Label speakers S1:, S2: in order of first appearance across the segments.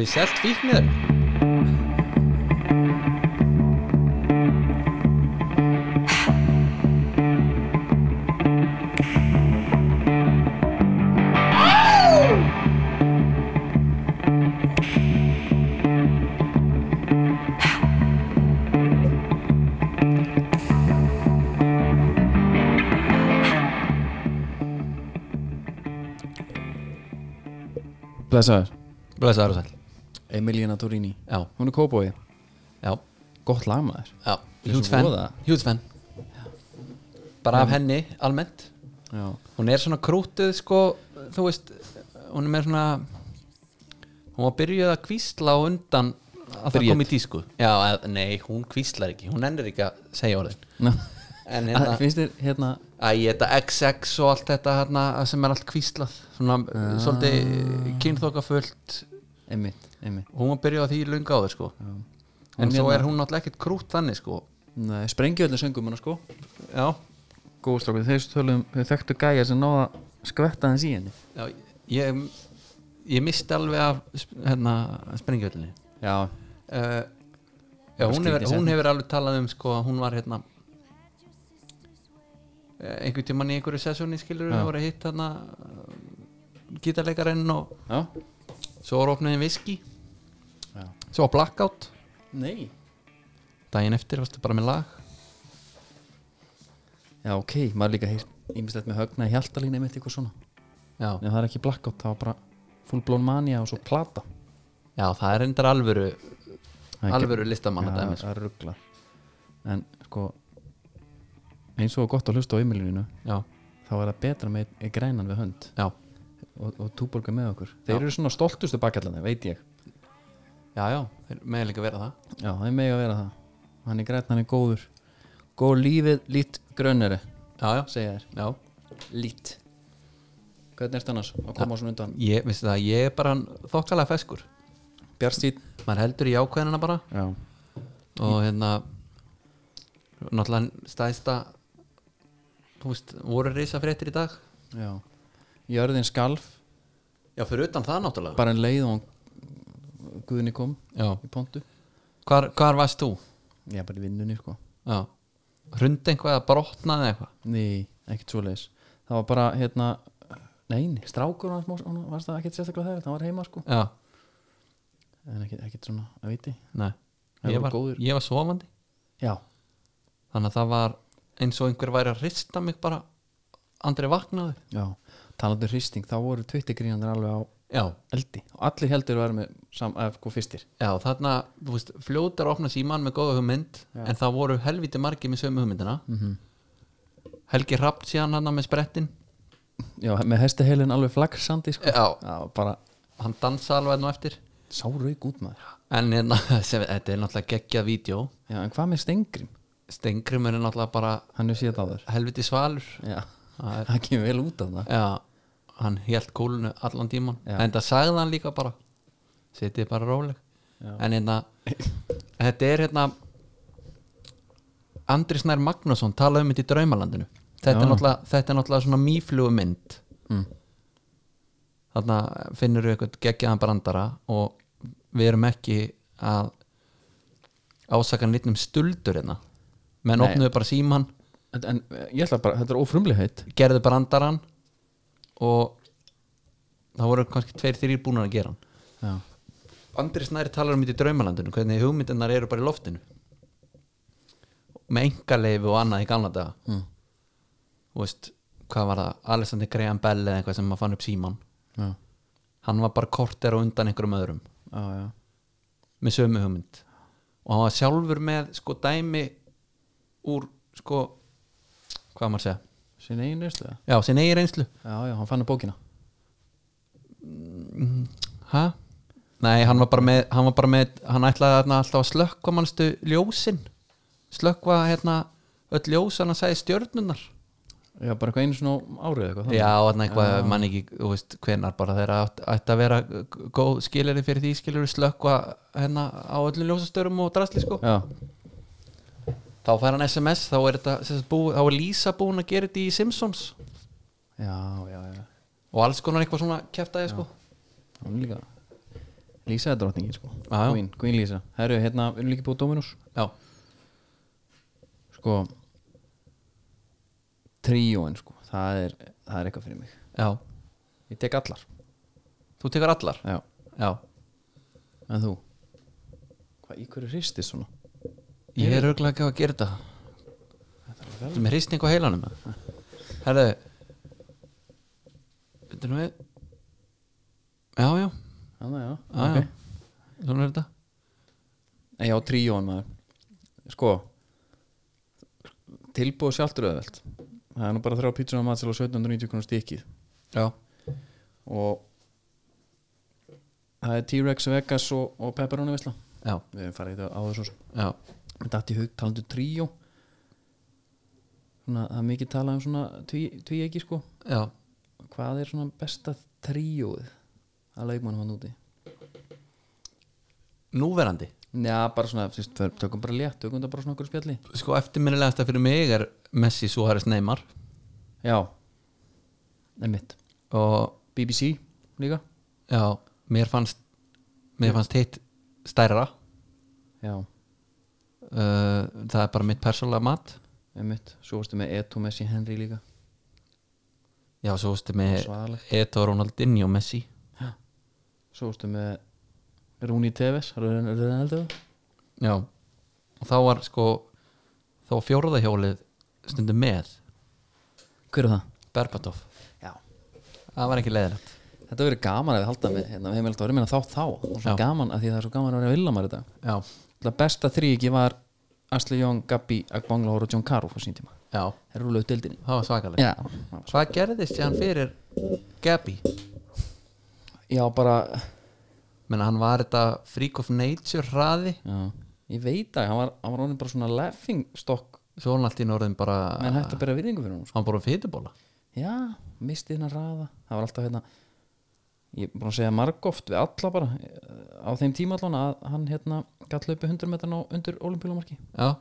S1: Við selt fíknir
S2: Blessaður
S1: Blessaður og sæl
S2: Emiliana Torini
S1: Já,
S2: Hún er kópói
S1: já,
S2: Gott lagmaður
S1: já
S2: Ég er
S1: Hjúts
S2: svo
S1: fenn
S2: voða.
S1: Hjúts fenn Bara af henni, almennt
S2: Já
S1: Hún er svona krútið, sko Þú veist, hún er með svona Hún var byrjuð að kvísla á undan að það
S2: Bríet.
S1: kom í tísku Já, eð, nei, hún kvíslar ekki Hún ennir ekki að segja orðin
S2: Ná
S1: En
S2: Að-
S1: hérna,
S2: Finnst þér hérna
S1: Æ, þetta XX og allt þetta hérna, sem er allt kvíslað svona,
S2: Ah.
S1: svolítið kynþókafullt
S2: Einmitt Einmitt
S1: hún var byrjuð á því lunga áður sko en
S2: Hún
S1: svo
S2: hérna-
S1: er hún náttúrulega ekkert krútt þannig sko
S2: Nei, sprengi öllu söngum hennar sko
S1: já,
S2: Góðstrákur, þeir tölum Þau þekktu gæja sem náða skvetta hans í henni
S1: já ég, ég misti alveg af sp- hérna, sprengjöllinni
S2: Já
S1: uh, já,
S2: var
S1: hún, hefur,
S2: Eh, skrítið
S1: hún
S2: setning.
S1: hefur alveg talað um sko að hún var hérna eh, einhvern tímann í einhverju sessóni skilur
S2: Já.
S1: við voru hitt hérna gítarleikarinn og
S2: Já
S1: svo voru opnuðin viski
S2: Já
S1: svo var blackout
S2: Nei
S1: daginn eftir varstu bara með lag
S2: Já, ok Maður líka heyrt Ímislegt með högna í hjaltalínu Einmitt eitthvað svona
S1: já,
S2: Nei, það er ekki blackout Það var bara Fullblón mania og svo plata
S1: já það er endar alvöru alvöru listamanna
S2: Já,
S1: dæmi sko.
S2: það er ruggla En sko eins og gott að hlusta á Emilínu
S1: já,
S2: þá er það betra með einn grænan við hönd
S1: já,
S2: og, og túborga með okkur Þeir eru svona stoltustu bakkallandi, veit ég
S1: já, já þeir meðal líka vera það
S2: Já, það er mega að vera það Hann er græn, hann er góður Góð lífið, lít grönneri
S1: já, já,
S2: segja þér,
S1: já
S2: lít Hvernig ert annars að koma svona undan?
S1: ég, veistu það, ég er bara þokkalega feskur
S2: Bjarstýt
S1: maður heldur í ákveðinina bara
S2: Já,
S1: og hérna náttúrulega stæðsta þú veist, voru reysa fréttir í dag
S2: já Jörðin skalf,
S1: já, fyrir utan það náttúrulega
S2: bara en leið og hann Guðni kom
S1: já,
S2: í pontu
S1: hvar, hvar varst þú?
S2: Já, bara í vinnunni sko
S1: já, hrundi eitthvað eða brotnaði eitthvað
S2: Nei, ekkert svoleiðis Það var bara, hérna Neini, strákur hann, hann var það ekkert sérstaklega þegar Það var heima sko
S1: já,
S2: En ekkert, ekkert svona, að viti
S1: nei
S2: Það
S1: ég
S2: voru
S1: var,
S2: góðir.
S1: ég var sofandi
S2: Já,
S1: þannig að það var eins og einhver væri að rista mig bara andri vaknaði
S2: já Talandi um hristing, þá voru tvittigrínandir alveg á
S1: já,
S2: eldi Og allir heldur var með sam, eða, sko, fyrstir
S1: já þarna þú veist, fljótar að opna síman með góða hugmynd en það voru helviti margir með sömu hugmyndina -hmm. Helgi Rapp síðan hann með sprettin
S2: Já, með hestaheilin alveg flaksandi sko
S1: já,
S2: Já, bara
S1: hann dansa alveg nú eftir
S2: sáraug út maður
S1: en hérna, sem, þetta er náttúrulega geggjað vídeo
S2: Já, en hvað með stengrim?
S1: Stengrimur er náttúrulega bara
S2: Hann er síðan áður
S1: helviti svalur
S2: Já,
S1: það er,
S2: það kemur vel út af það
S1: já, hann hélt kúlunu allan tíman
S2: Já.
S1: en það sagði hann líka bara setið bara róleg
S2: Já.
S1: en hérna, þetta er hérna Andri Snær Magnússon talaði um þetta í draumalandinu þetta, er
S2: Já.
S1: náttúrulega, þetta er náttúrulega svona mýflugu mynd
S2: Mm.
S1: þarna finnur við eitthvað geggjaðan brandara og við erum ekki að ásaka hann litnum stuldur hérna menn
S2: Nei.
S1: opnuðu bara síman
S2: En, en ég ætla bara, þetta er ófrumliheit
S1: gerðu brandaran og það voru kannski tveir þrýr búin að gera hann
S2: Já,
S1: Andri Snæri talar um þetta í draumalandinu hvernig hugmyndirnar eru bara í loftinu með engaleifu og annað í gamla daga
S2: Mm.
S1: Þú veist, hvað var það Alessandri Graham Bell eða eitthvað sem maður fann upp síman
S2: já,
S1: hann var bara korter og undan einhverjum öðrum
S2: já, já.
S1: með sömu hugmynd og hann var sjálfur með sko dæmi úr sko hvað á maður að segja
S2: Sín eigin reistu það
S1: já, sinni eigin reynslu
S2: Já, já, hann fann upp bókina
S1: ha? nei, hann var bara með hann, var bara með, hann ætlaði þarna alltaf að slökka mannstu ljósin slökka hérna öll ljós hann að segja stjörnunar
S2: Já, bara eitthvað einu svona á árið eitthvað þannig.
S1: já, þarna eitthvað, mann ekki, þú veist hvenar bara þeirra átt- ætti að vera uh, góð skilari fyrir því skilari slökka hérna á öllum ljósastörum og drastli sko
S2: Já,
S1: þá fær hann SMS, þá er, þetta, sem sagt búið, þá er Lisa búin að gera þetta í Simpsons
S2: já, já, já
S1: og alls konar eitthvað svona kæftæði sko
S2: Hún er líka Lísa er drottningin sko
S1: Já, já.
S2: Queen, Queen Lísa Herru, hérna, við erum líka búið á Dominus
S1: Já,
S2: Sko Tríóin sko það er, það er eitthvað fyrir mig
S1: já,
S2: Ég tek allar
S1: þú tekur allar
S2: Já,
S1: Já,
S2: en þú Hvað, í hverju hristist svona?
S1: ég er örgulega ekki að gera þetta Þetta er með hristning á heilanum Herðu Þetta er með Já, já,
S2: Þannig, Ah, já,
S1: já,
S2: ok
S1: já Svona er þetta
S2: En já, tríón maður Sko Tilbúið sjálftur öðvöld Það er nú bara þrjá pítsunar matsel og 1790 krónur stikkið
S1: Já,
S2: Og Það er T-Rex, Vegas og, og Pepperoni Vesla
S1: já,
S2: Við hefum farið í þetta á þessu svo
S1: já,
S2: Mér datt í hug talandu tríó Svona, það er mikið talað um svona tví, tví ekki sko
S1: já
S2: Hvað er svona besta tríóið að leikmanum hann úti?
S1: Núverandi
S2: Já, bara svona, fyrst, við tökum bara létt, tökum þetta bara svona okkur spjalli
S1: Sko eftirminnilegasta fyrir mig er Messi Suárez Neymar
S2: Já, einmitt
S1: og
S2: BBC líka
S1: já, mér fannst mér fannst hitt stærra
S2: Já,
S1: uh, það er bara mitt persónulega mat
S2: einmitt, svo varstu með Eto Messi Henry líka
S1: já, svo veistu með
S2: Svaðalegt
S1: Eto Ronaldinho Messi
S2: Svo varstu með Rúni Teves Ronaldo
S1: já, og þá var sko þá var fjórðahjólið stundum með
S2: Hver er það?
S1: Berbatov,
S2: Já
S1: það var ekki leiðilegt
S2: Þetta verið gaman að við halda með hérna, við hefum alltaf verið meina þá þá og svo
S1: Já.
S2: gaman að því það er svo gaman að vera að vilja maður þetta
S1: já,
S2: Það besta þrýki var Asli Jón, Gabi, Agbangláður og John Caro á sín tíma
S1: já,
S2: Það rúlaðu deildinni
S1: það var svakalegt
S2: Já,
S1: hvað gerðist ég hann fyrir Gabi?
S2: já bara
S1: menn hann var þetta freak of nature hraði
S2: já. Ég veit að hann var, hann var orðin bara svona laughing stock
S1: svo hann allt í norðin bara
S2: menn hægt að bera virðingu fyrir hún
S1: hann bara fytubóla
S2: já, misti hérna raða það var alltaf hérna ég er búin að segja margóft við alla bara eh, á þeim tíma allan að hann hérna gætt laupi 100 metran á undir olimpílumarki
S1: já,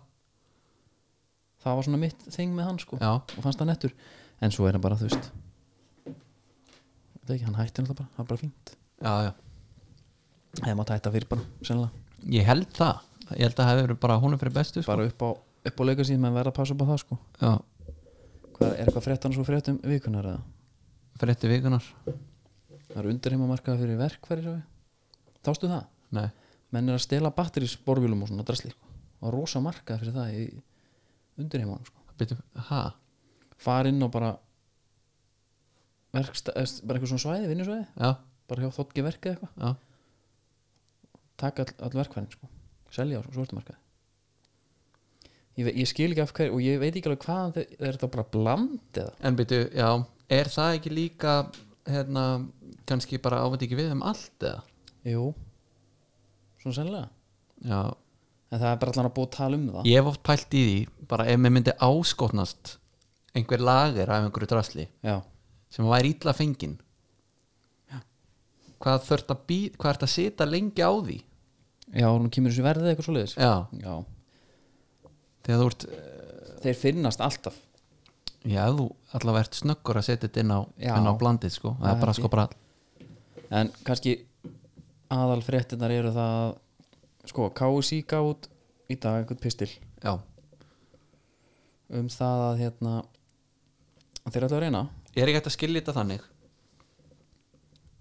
S2: það var svona mitt þing með hann sko
S1: já,
S2: og fannst það nettur, en svo er hann bara þú veist það ekki, hann hætti náttúrulega bara, það var bara fínt
S1: já, já
S2: hefði maður hætta fyrir bara, sennilega
S1: Ég held það, ég held að það hefur verið bara honum fyrir bestu sko.
S2: bara upp á, upp á leikasíð, menn verða að passa upp á það sko
S1: Já,
S2: Hvað, er eitthvað fréttan svo fréttum vikunar eða
S1: frétti vikunar
S2: það eru undir fyrir verkfæri svo við þástu það?
S1: Nei,
S2: menn er að stela batterísborvílum og svona drasli sko. og rosa markað fyrir það í undirheimanum sko.
S1: býttu, ha?
S2: fara inn og bara verksta, eða, bara eitthvað svona svæði, vinnusvæði
S1: Já,
S2: bara hjá þóttki verkað eitthvað
S1: já,
S2: taka all, all verkfærin, sko. selja á svartumarkaði ég, ve- ég skil ekki af hverju og ég veit ekki alveg hvað þe- er þetta bara bland eða
S1: en býttu, já Er það ekki líka hérna, kannski bara ávend ekki við um allt eða?
S2: jú, svona sennilega
S1: Já,
S2: en það er bara allan að búa að tala um það
S1: ég hef oft pælt í því bara ef mér myndi áskotnast einhver lager af einhverju drasli
S2: já,
S1: sem væri illa fengin hvað þurft að býð hvað ert að sita lengi á því
S2: já, hún kemur þessu verðið eitthvað svoleiðis
S1: já,
S2: já,
S1: þegar þú ert
S2: þeir finnast alltaf
S1: Já, þú allavega ert snöggur að setja þetta inn á,
S2: Já.
S1: inn á blandið sko. það er
S2: Það
S1: bara
S2: held
S1: sko bara
S2: en kannski aðal fréttinar eru það að, sko, KSI gaf út í dag einhvern pistil
S1: já,
S2: um það að hérna að þeir ætla að reyna
S1: ég er ekki hægt að skilja þetta þannig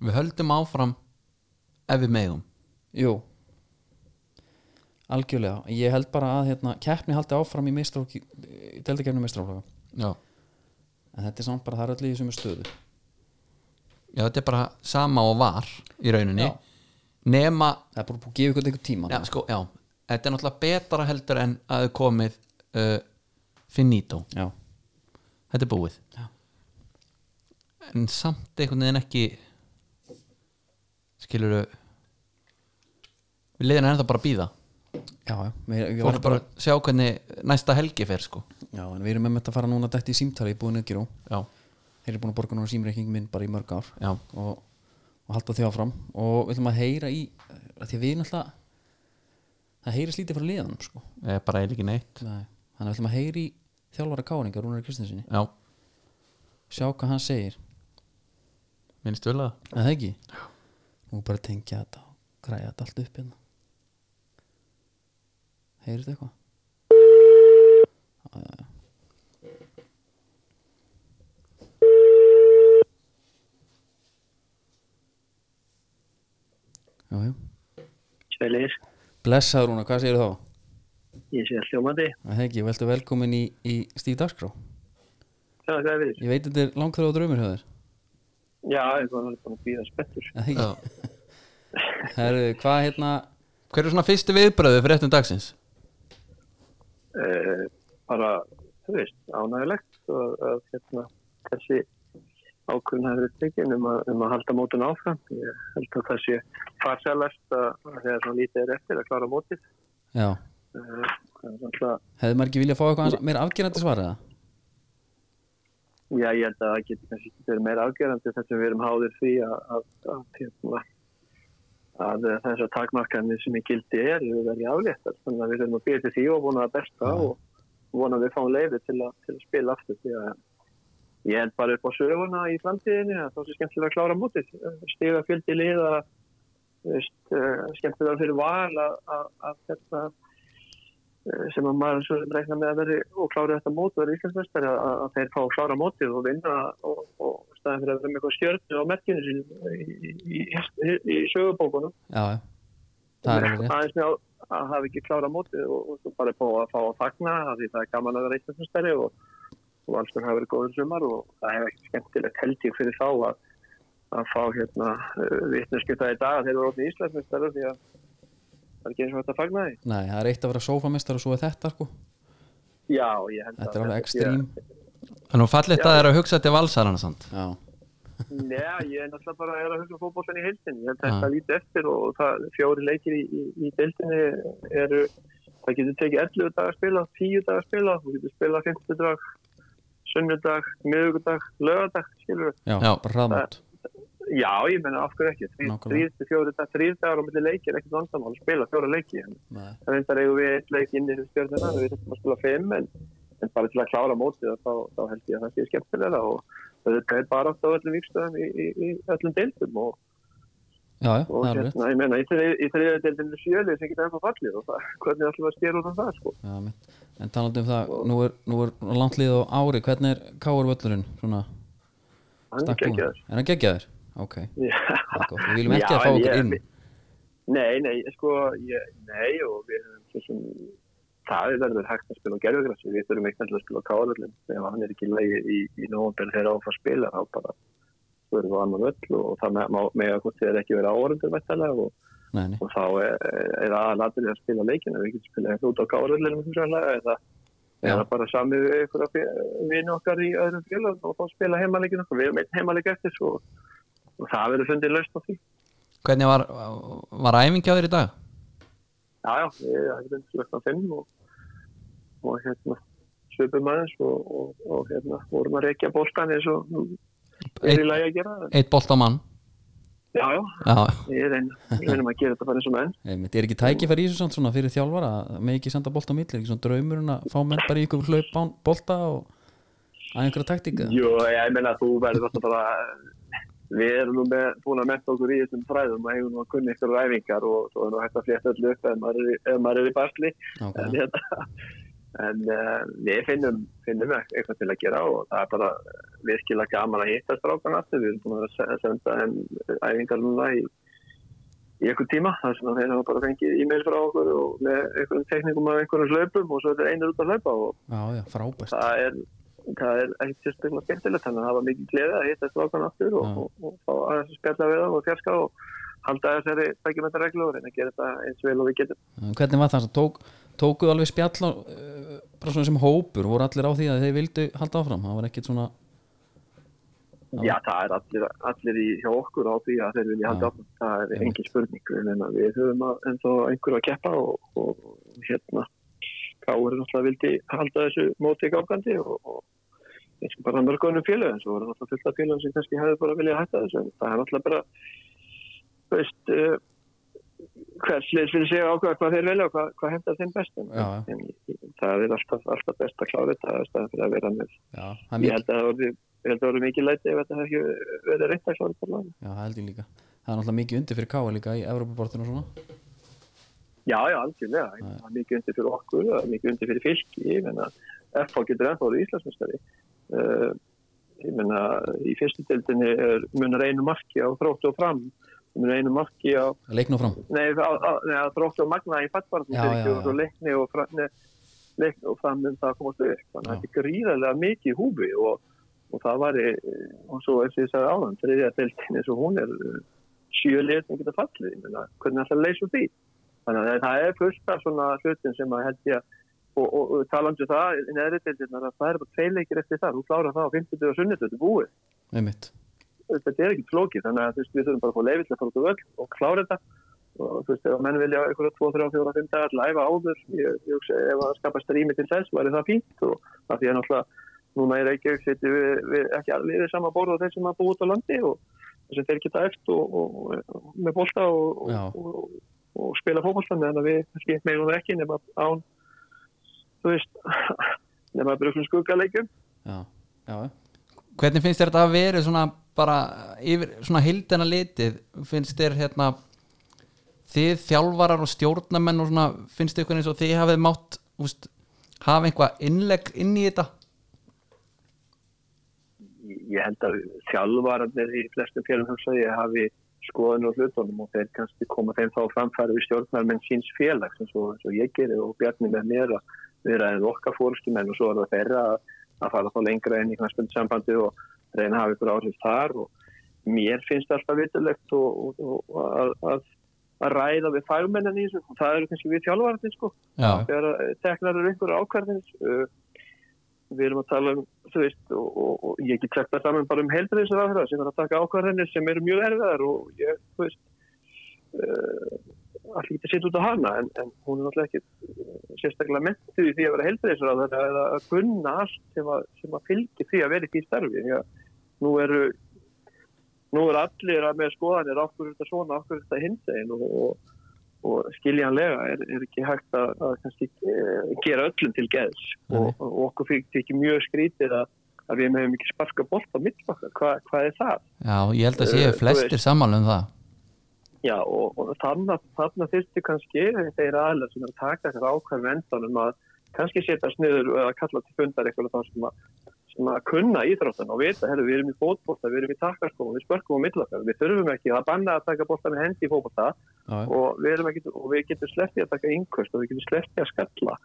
S1: við höldum áfram ef við megum
S2: jú algjörlega, ég held bara að hérna, keppni haldi áfram í meistróki í deildakefni meistróflaka
S1: já,
S2: en þetta er samt bara það er allir í sömu stöðu
S1: já þetta er bara sama og var í rauninni
S2: Já.
S1: nema,
S2: það er bara búið að gefa ykkur einhver tíma
S1: já sko, já þetta er náttúrulega betra heldur en að þau komið uh, finito
S2: já,
S1: þetta er búið
S2: Já.
S1: en samt einhvern veginn ekki skilur við liðin er ennþá bara að býða
S2: já, já, við, við
S1: fólk
S2: varum
S1: bara sjá hvernig næsta helgi fer sko
S2: já en við erum með þetta að fara núna dætt í símtali í búinu Giró,
S1: já,
S2: þeir eru búin að borga núna símreiking minn bara í mörg ár
S1: já,
S2: og, og halda því áfram og við ætlum að heyra í að því að við náttúrulega það heyrist lítið frá liðanum sko.
S1: eða bara eða ekki neitt
S2: Nei. þannig að við ætlum að heyra í þjálfara káringar Rúnar Kristinsinni,
S1: já,
S2: sjá hvað hann segir
S1: minnst vel að
S2: að það ekki nú bara tengja þetta á græja þetta allt upp hérna heyrðu þetta eitthvað? Já, já, já. Já, já.
S3: Sveiliðis,
S2: Blessaður Rúna, hvað segir þá?
S3: ég sé allt hljómandi.
S2: Það hegi, veltu velkomin í, í Stíf Dagskrá
S3: Já, hvað er við?
S2: Ég veit þetta er langþrjóð og draumur höfður
S3: Já, ég var alveg búin að býða spettur.
S1: Já.
S2: Herðu, hvað hérna
S1: Hver er svona fyrsti viðbröðu fyrir ettum dagsins?
S3: Uh, bara, þú veist, ánægilegt og að hérna, þessi ákvörðun hafi verið tekin um að, um að halda mótun áfram. Ég held að það sé farsælast að að þegar svona lítið er eftir að klára mótið.
S2: Já,
S3: Uh, það er alltaf,
S2: hefðu maður ekki viljað fá eitthvað aðeins meira afgerandi svar eða?
S3: já, ég held að það getur kannski ekki verið meira afgerandi þess að við erum háðir því að, að, að, hérna, að þessar takmarkanir sem í gildi er eru verið afléttar. Þannig að við erum að býja til því og vona það besta og vona að við fáum leiði til, að- til að spila aftur. Því að ég held bara upp á söguna í framtíðinni að þá sé skemmtilega að klára mútið. Stífa fjöldi liða, þú veist, eh, skemmtilega fyrir val að, að, að hérna, þetta eh, sem að maður svo sem reikna með að veri og klára þetta mót og vera íslensmestari að, að að þeir fá að klára mótið og vinna og, og staðan fyrir að vera með eitthvað stjörnu á merkinu sín í, í, í, í, í sögubókunum
S2: Já, já, það er alveg rétt
S3: aðeins með að- að hafa ekki klára mótið og, og svo bara búið að fá að fagna af því það er gaman að vera íslensmestari og, og valstur hafa verið góður sumar og það hefur ekki skemmtilegt held ég fyrir þá að, að fá hérna vittneskið það í dag að þeir eru orðin íslensmestari því að það er ekki eins og þetta að fagna því
S2: Nei, það er eitt að vera sófamistar og svo er þetta sko
S3: Já, ég held
S2: Þetta er alveg
S3: sé-
S2: ekstrím
S1: Þannig að fallið það er að hugsa til valsarana samt
S2: Já,
S3: Nei, ég er náttúrulega bara að er að hugsa fótbollan í heildin. Ég held að þetta lítið eftir og það, fjóri leikir í, í, í deildinni eru, það getur tekið 11 dagar að spila, 10 dagar að spila, þú getur spila 50 dag, sunnudag, miðugudag, lögadag, skilur við.
S2: já,
S1: Já.
S2: bara hraðmátt
S3: Já, ég menna af hverju ekki. Þrý-
S2: Nákvæmlega.
S3: Þrír til fjóri dagar, þrýr dagar á milli leikir, ekkert vandamál, spila fjóra leiki. En
S2: Nei.
S3: Það reyndar eigum við eitt leik inn í stjórnina, við þurfum að spila 5, en, en bara til að klára mótið þá, þá held ég að það sé skemmtilega og þetta er bara á öllum vikstöðum í, í, í öllum deildum og
S2: Já, já,
S3: og
S2: það er alveg rétt
S3: hérna, ég meina, í þrið- í þriðja deildinu sjölu sem geta ennþá fallið og það, hvernig ætlum við að skera út af það, sko?
S2: Já, mitt. En talandi um það, nú er, nú er langt lið á ári, hvernig er Káur völlurinn? Svona,
S3: Hann er
S2: stakk búinn?
S3: geggjaður.
S2: Er hann geggjaður? Ok,
S3: Já.
S2: það er gott. Við viljum ekki
S3: Já,
S2: að fá
S3: en
S2: okkur
S3: ég-
S2: inn
S3: Nei, nei, sko, ég, nei, og við höfum svo sem, það er verður hægt að spila á gerfugrassi, við þurfum ekki endilega að spila á káðurlinn, ef hann er ekki í lagi í, í nógumbil þegar áfæð spila, þá bara verður það annan öll og það með, með að hvort þið er ekki verið áhverjandur mættalega og
S2: Nei, nei,
S3: og þá er, er aðalatrið að spila leikina við getum spilað hérna út á káðurleginum eða,
S2: Já.
S3: eða bara sami við ykkur vinn okkar í öðrum fjölu og þá spila heimaleikinu okkar, við erum einn heimaleik eftir svo, og það verður fundið laust á því
S1: Hvernig var, var æfingi á þér í dag?
S3: já, já, við erum fundið laust á fimm og, og hérna svipum aðeins og, og, og hérna vorum að reykja bóltan eins og nú er í
S1: Eitt,
S3: lagi að gera en-
S1: eitt bolt á mann
S3: já, já,
S1: Já,
S3: við reynum reynum að gera þetta bara eins og menn
S2: einmitt, er ekki tækifæri í þessu samt svona fyrir þjálfara að með ekki senda bolta á milli, er ekki svona draumurinn að fá menn bara í ykkur hlaup án bolta og að einhverja taktika?
S3: Jú, ég meina að þú verður alltaf bara við erum nú með, búin að metta okkur í þessum fræðum og hefum nú að kunna ykkur ræfingar og svo er nú hægt að flétta öllu upp ef maður er, í- ef maður er í basli en,
S2: Nákvæmlega.
S3: hérna, en uh, við finnum, finnum e-, eitthvað til að gera og það er bara virkilega gaman að hitta strákan aftur við erum búin að vera að se- senda en æfingar núna í í einhver tíma, þar sem að þeir hafa bara fengið e-mail frá okkur og með einhverjum teknikum af einhverjum hlaupum og svo þetta er einur út að hlaupa og
S2: Já, já, frábært.
S3: það er, það er ekkert sérstaklega skemmtilegt þannig að það var mikið gleði að hitta strákan aftur og,
S2: Já.
S3: og, og, fá aðeins að spjalla við það og fjarska og halda þessari tækjumættar reglur en að gera þetta eins vel og við getum.
S2: En Eh, Hvernig var það? sem Tók, tókuðu alveg spjall á, uh, bara svona sem hópur, voru allir á því að þeir vildu halda áfram? Það var ekkit svona,
S3: Já, það er allir, allir í hjá okkur á því að þeir vilja halda áfram. Það er engin spurning. Ég meina, Við höfum að- ennþá einhverju að keppa og, og hérna Káur náttúrulega vildi halda þessu móti í gangandi og, og eins og bara mörgunum félögum svo voru náttúrulega fullt af félögum sem kannski hefði bara viljað hætta þessu en það er náttúrulega bara þú veist uh, hvers leið fyrir sig að ákveða hvað þeir velja og hvað, hvað hefða þeim best en,
S2: Já, já.
S3: en það er alltaf, alltaf best að klára þetta að staða fyrir að vera með
S2: já, það er
S3: ég
S2: mikið.
S3: held að það voru, ég held að það voru mikið læti ef þetta hefði ekki verið reynt að klára þetta lag.
S2: Já, það held ég líka. það er náttúrulega mikið undir fyrir Káa líka í Evropabortinu og svona
S3: Já, já, algjörlega. Ég meina, Það er mikið undir fyrir okkur, það er mikið undir fyrir fylki. Ég meina, FH getur ennþá orðið Íslandsmestari. Uh, ég meina, í fyrstu deildinni er munar einu marki á þróttu og fram, munar einu marki á,
S2: leikn og fram
S3: nei, á, á, nei, á þróttu og magna
S2: Já,
S3: í
S2: já,
S3: fattbarnum
S2: já.
S3: og leikni og fram, nei, leikni og fram um það að komast upp. Þannig
S2: Já.
S3: að þetta er gríðarlega mikið í húfi og, og það var, eh, og svo eins og ég sagði áðan, þriðja deildinni, svo hún er uh, sjö lið sem geta fallið. Ég meina, hvernig ætlar að leysa úr því? Þannig að það er fullt af svona hlutin sem að held ég að og, og, og talandi um það, neðri deildirnar að það er bara tveileikir eftir það, þú klárar það á 50 og sunnit, þetta er búið,
S2: einmitt,
S3: þetta er ekki flókið, þannig að þú veist, við þurfum bara að fá leiðvill að fara út á völl og klára þetta og þú veist, ef að menn vilja einhverja 2, 3, 4, 5 dagar læfa áður, ég, ég hugsa, ef að skapa strími til þess, væri það fínt og af því að náttúrulega, núna er ekki við, við ekki alveg við sama borð og þeir sem að búa út á landi og þess að þeir geta eftir og, og, og með bolta og,
S2: Já.
S3: og, og, og spila fótbolta meðan að við kannski meginum það ekki nema án þú veist, nema bruklum skuggalegjum
S2: já, já, já.
S1: Hvernig finnst þér þetta að vera svona bara yfir, svona hildina litið finnst þér hérna þið þjálfarar og stjórnamenn og svona finnst þér eitthvað eins og þið hafið mátt úst, hafa einhvað innlegg inn í þetta
S3: ég held að þjálfararnir í flestum félagum hugsa ég hafi skoðun og hlutunum og þeir kannski koma þeim þá á framfæri við stjórnarmenn síns félags eins og, eins og ég gerir og Bjarni með mér að vera en okkar fórustumenn og svo er það þeirra að, að fara þá lengra inn í knarspöndu sambandi og reyna að hafa ykkur áhrif þar og mér finnst alltaf vitulegt og, og, og að, að, að ræða við fagmennan í þessu og það eru kannski við þjálfararnir sko
S1: Já,
S3: þegar eh, teknar eru einhverja ákvarðinir uh, við erum að tala um þú veist, og, og, og ég get sagt það saman bara um heilbriðisra aðra sem er að taka ákvarðinir sem eru mjög erfiðar og ég, þú veist uh, allir getur sitt út á hana en, en hún er náttúrulega ekki eh, sérstaklega mentuð í því að vera heilbriðisra aðra eða að gunna allt sem að, sem að fylgir því að vera í því starfi því að nú eru nú eru allir að með skoðanir okkur þetta svona, okkur þetta hinsegin og, og og skiljanlega er, er ekki hægt að, að kannski, eh, gera öllum til geðs
S2: Nei.
S3: og, og okkur fyrir ekki mjög skrítið að, að við meðum ekki sparka bolt á mittbakka, Hva, hvað er það?
S1: já, ég held að séu
S3: Eh, þú
S1: flestir sammála um það
S3: Já og, og þarna, þarna fyrstu kannski þeir aðlega sem er að taka þessar ákvæm vendunum að kannski setja sniður eða kalla til fundar eitthvað þá sem að sem að kunna íþróttan og vita, herru, við erum í fótbolta, við erum í takkarskóma, við spörkum á millakar, við þurfum ekki að banna að taka bolta með hendi í fótbolta,
S2: Já, já.
S3: og við, erum ekkit, og við getum slepptið að taka yngvöst og við getum slepptið að skalla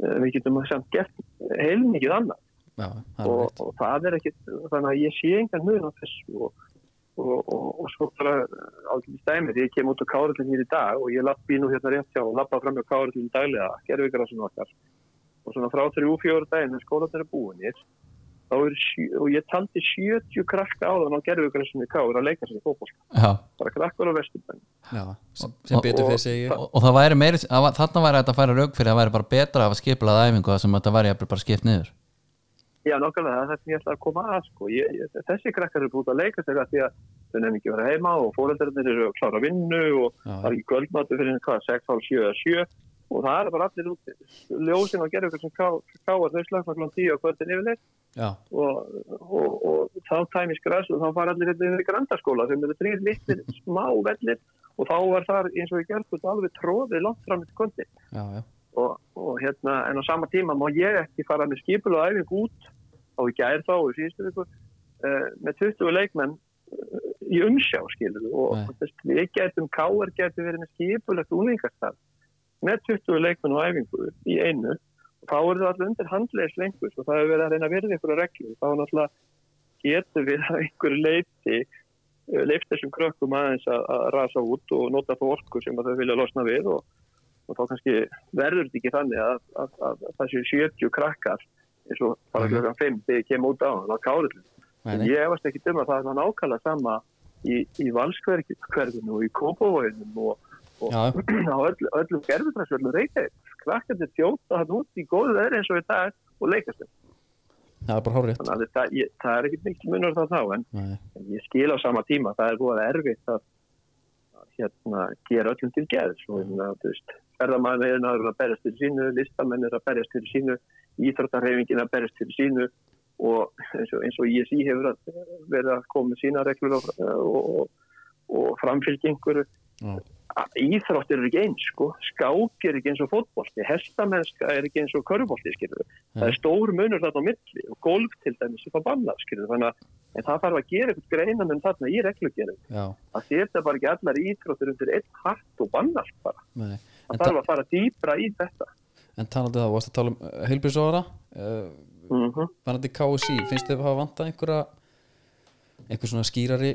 S3: Eh, við getum samt gert heilmikið annað
S2: já, það er
S3: og,
S2: rétt
S3: og það er ekkit þannig að ég sé engan mun á þessu og, og, og, og svo bara eh, ákveðið stæmið, ég kem út á Kárlinn hér í dag og ég lappi nú hérna rétt hjá og lappa fram hjá Kárlinn daglega, gerðu ykkur á svona okkar og svona frá þrjú fjóru daginn en skólanir er búinir þá er sjö, og ég taldi 70 krakka áðan á gerðu ykkur á svona káur að leika sér fókból,
S1: Já
S3: bara krakkar á vesturbæn
S2: já, sem, sem betur fyrir segi ég.
S1: og, og það væri meiri, það var- þarna væri þetta að færa rauk fyrir að það væri bara betra að hafa skiplað æfingu það sem þetta væri jafnvel bara skipt niður
S3: Já, nokkarlega, það er það sem ég ætla að koma að sko. ég, ég, þessi krakkar eru búin að leika sér að því að þau nefnum ekki að vera heima og fóreldrarnir eru að klára vinnu og
S2: Já,
S3: það er ekki kvöldmáttu fyrir hvað, 6, 5, 7 eða 7 og það er bara allir út ljósin og gerður ykkur sem ká- káar þau slagna kl. 10 og kvöldin yfirleitt
S2: já,
S3: og, og, og þá tæmis græs og þá fara allir hérna yfir í grandaskóla sem eru þrýr litlir smá vellir og þá var þar eins og ég gerð þetta alveg tróðið langt fram í kvöldin
S2: já, já,
S3: og, og hérna, en á sama tíma má ég ekki fara með skipul og æfing út og í gær þá, og í síðustu viku uh, með 20 leikmenn uh, í umsjá, skilur við, og
S2: Nei.
S3: þú veist, við getum, káar getum verið með skipulegt úlingastarf með 20 leikmenn og æfingu í einu og þá eru það allir undir handlegis lengur og það hefur verið að reyna að verða ykkur að reglu þá náttúrulega getum við að einhverju leiti leif þessum krökkum aðeins að, að rasa út og nota þá orku sem að þau vilja losna við og, og þá kannski verður þetta ekki þannig að, að, að, að þessi 70 krakkar eins og bara
S2: Mhm.
S3: klokkan 5 þegar ég kem út á hann á kárið
S2: Nei,
S3: en
S2: nei.
S3: ég efast ekki dum að það er nákvæmlega sama í, í valskverkinu og í kópavóinum og, og
S2: Já,
S3: á
S2: já.
S3: öll, öllum gerfutræsverðum reykjaði krakkarnir þjóta hann út í góðu veðri eins og í dag og leikast þeim.
S2: það er bara hár rétt
S3: þannig að þetta, ég, það er ekkit mikil munur þá þá en En ég skil á sama tíma, það er búið erfitt að að, hérna, gera öllum til geðs og hérna, þú veist, ferðamann er að berjast til sínu, listamenn er að berjast til sínu, íþróttarhefingin að berjast til sínu E og eins og, eins og ISI hefur að, verið að koma með sína reglur og, og, og, og framfylgja einhverju
S2: já,
S3: að íþróttir eru ekki eins sko. skák er ekki eins og fótbolti hestamennska er ekki eins og körbolti skilur. það er stór munur þarna á milli og golf til dæmis er það bannað skilur. þannig að en það þarf að gera eitthvað greinan en þarna í reglugjörðu
S2: já,
S3: að þetta bara ekki allar íþróttir undir einn hatt og bannað bara
S2: nei En,
S3: það þarf
S2: ta
S3: að fara dýbra í þetta
S2: en talandi um það, þú varst að tala um heilbjörnsóra uh,
S3: mm
S2: varandi KSI, finnst þið að hafa vantað einhverja einhver svona skýrari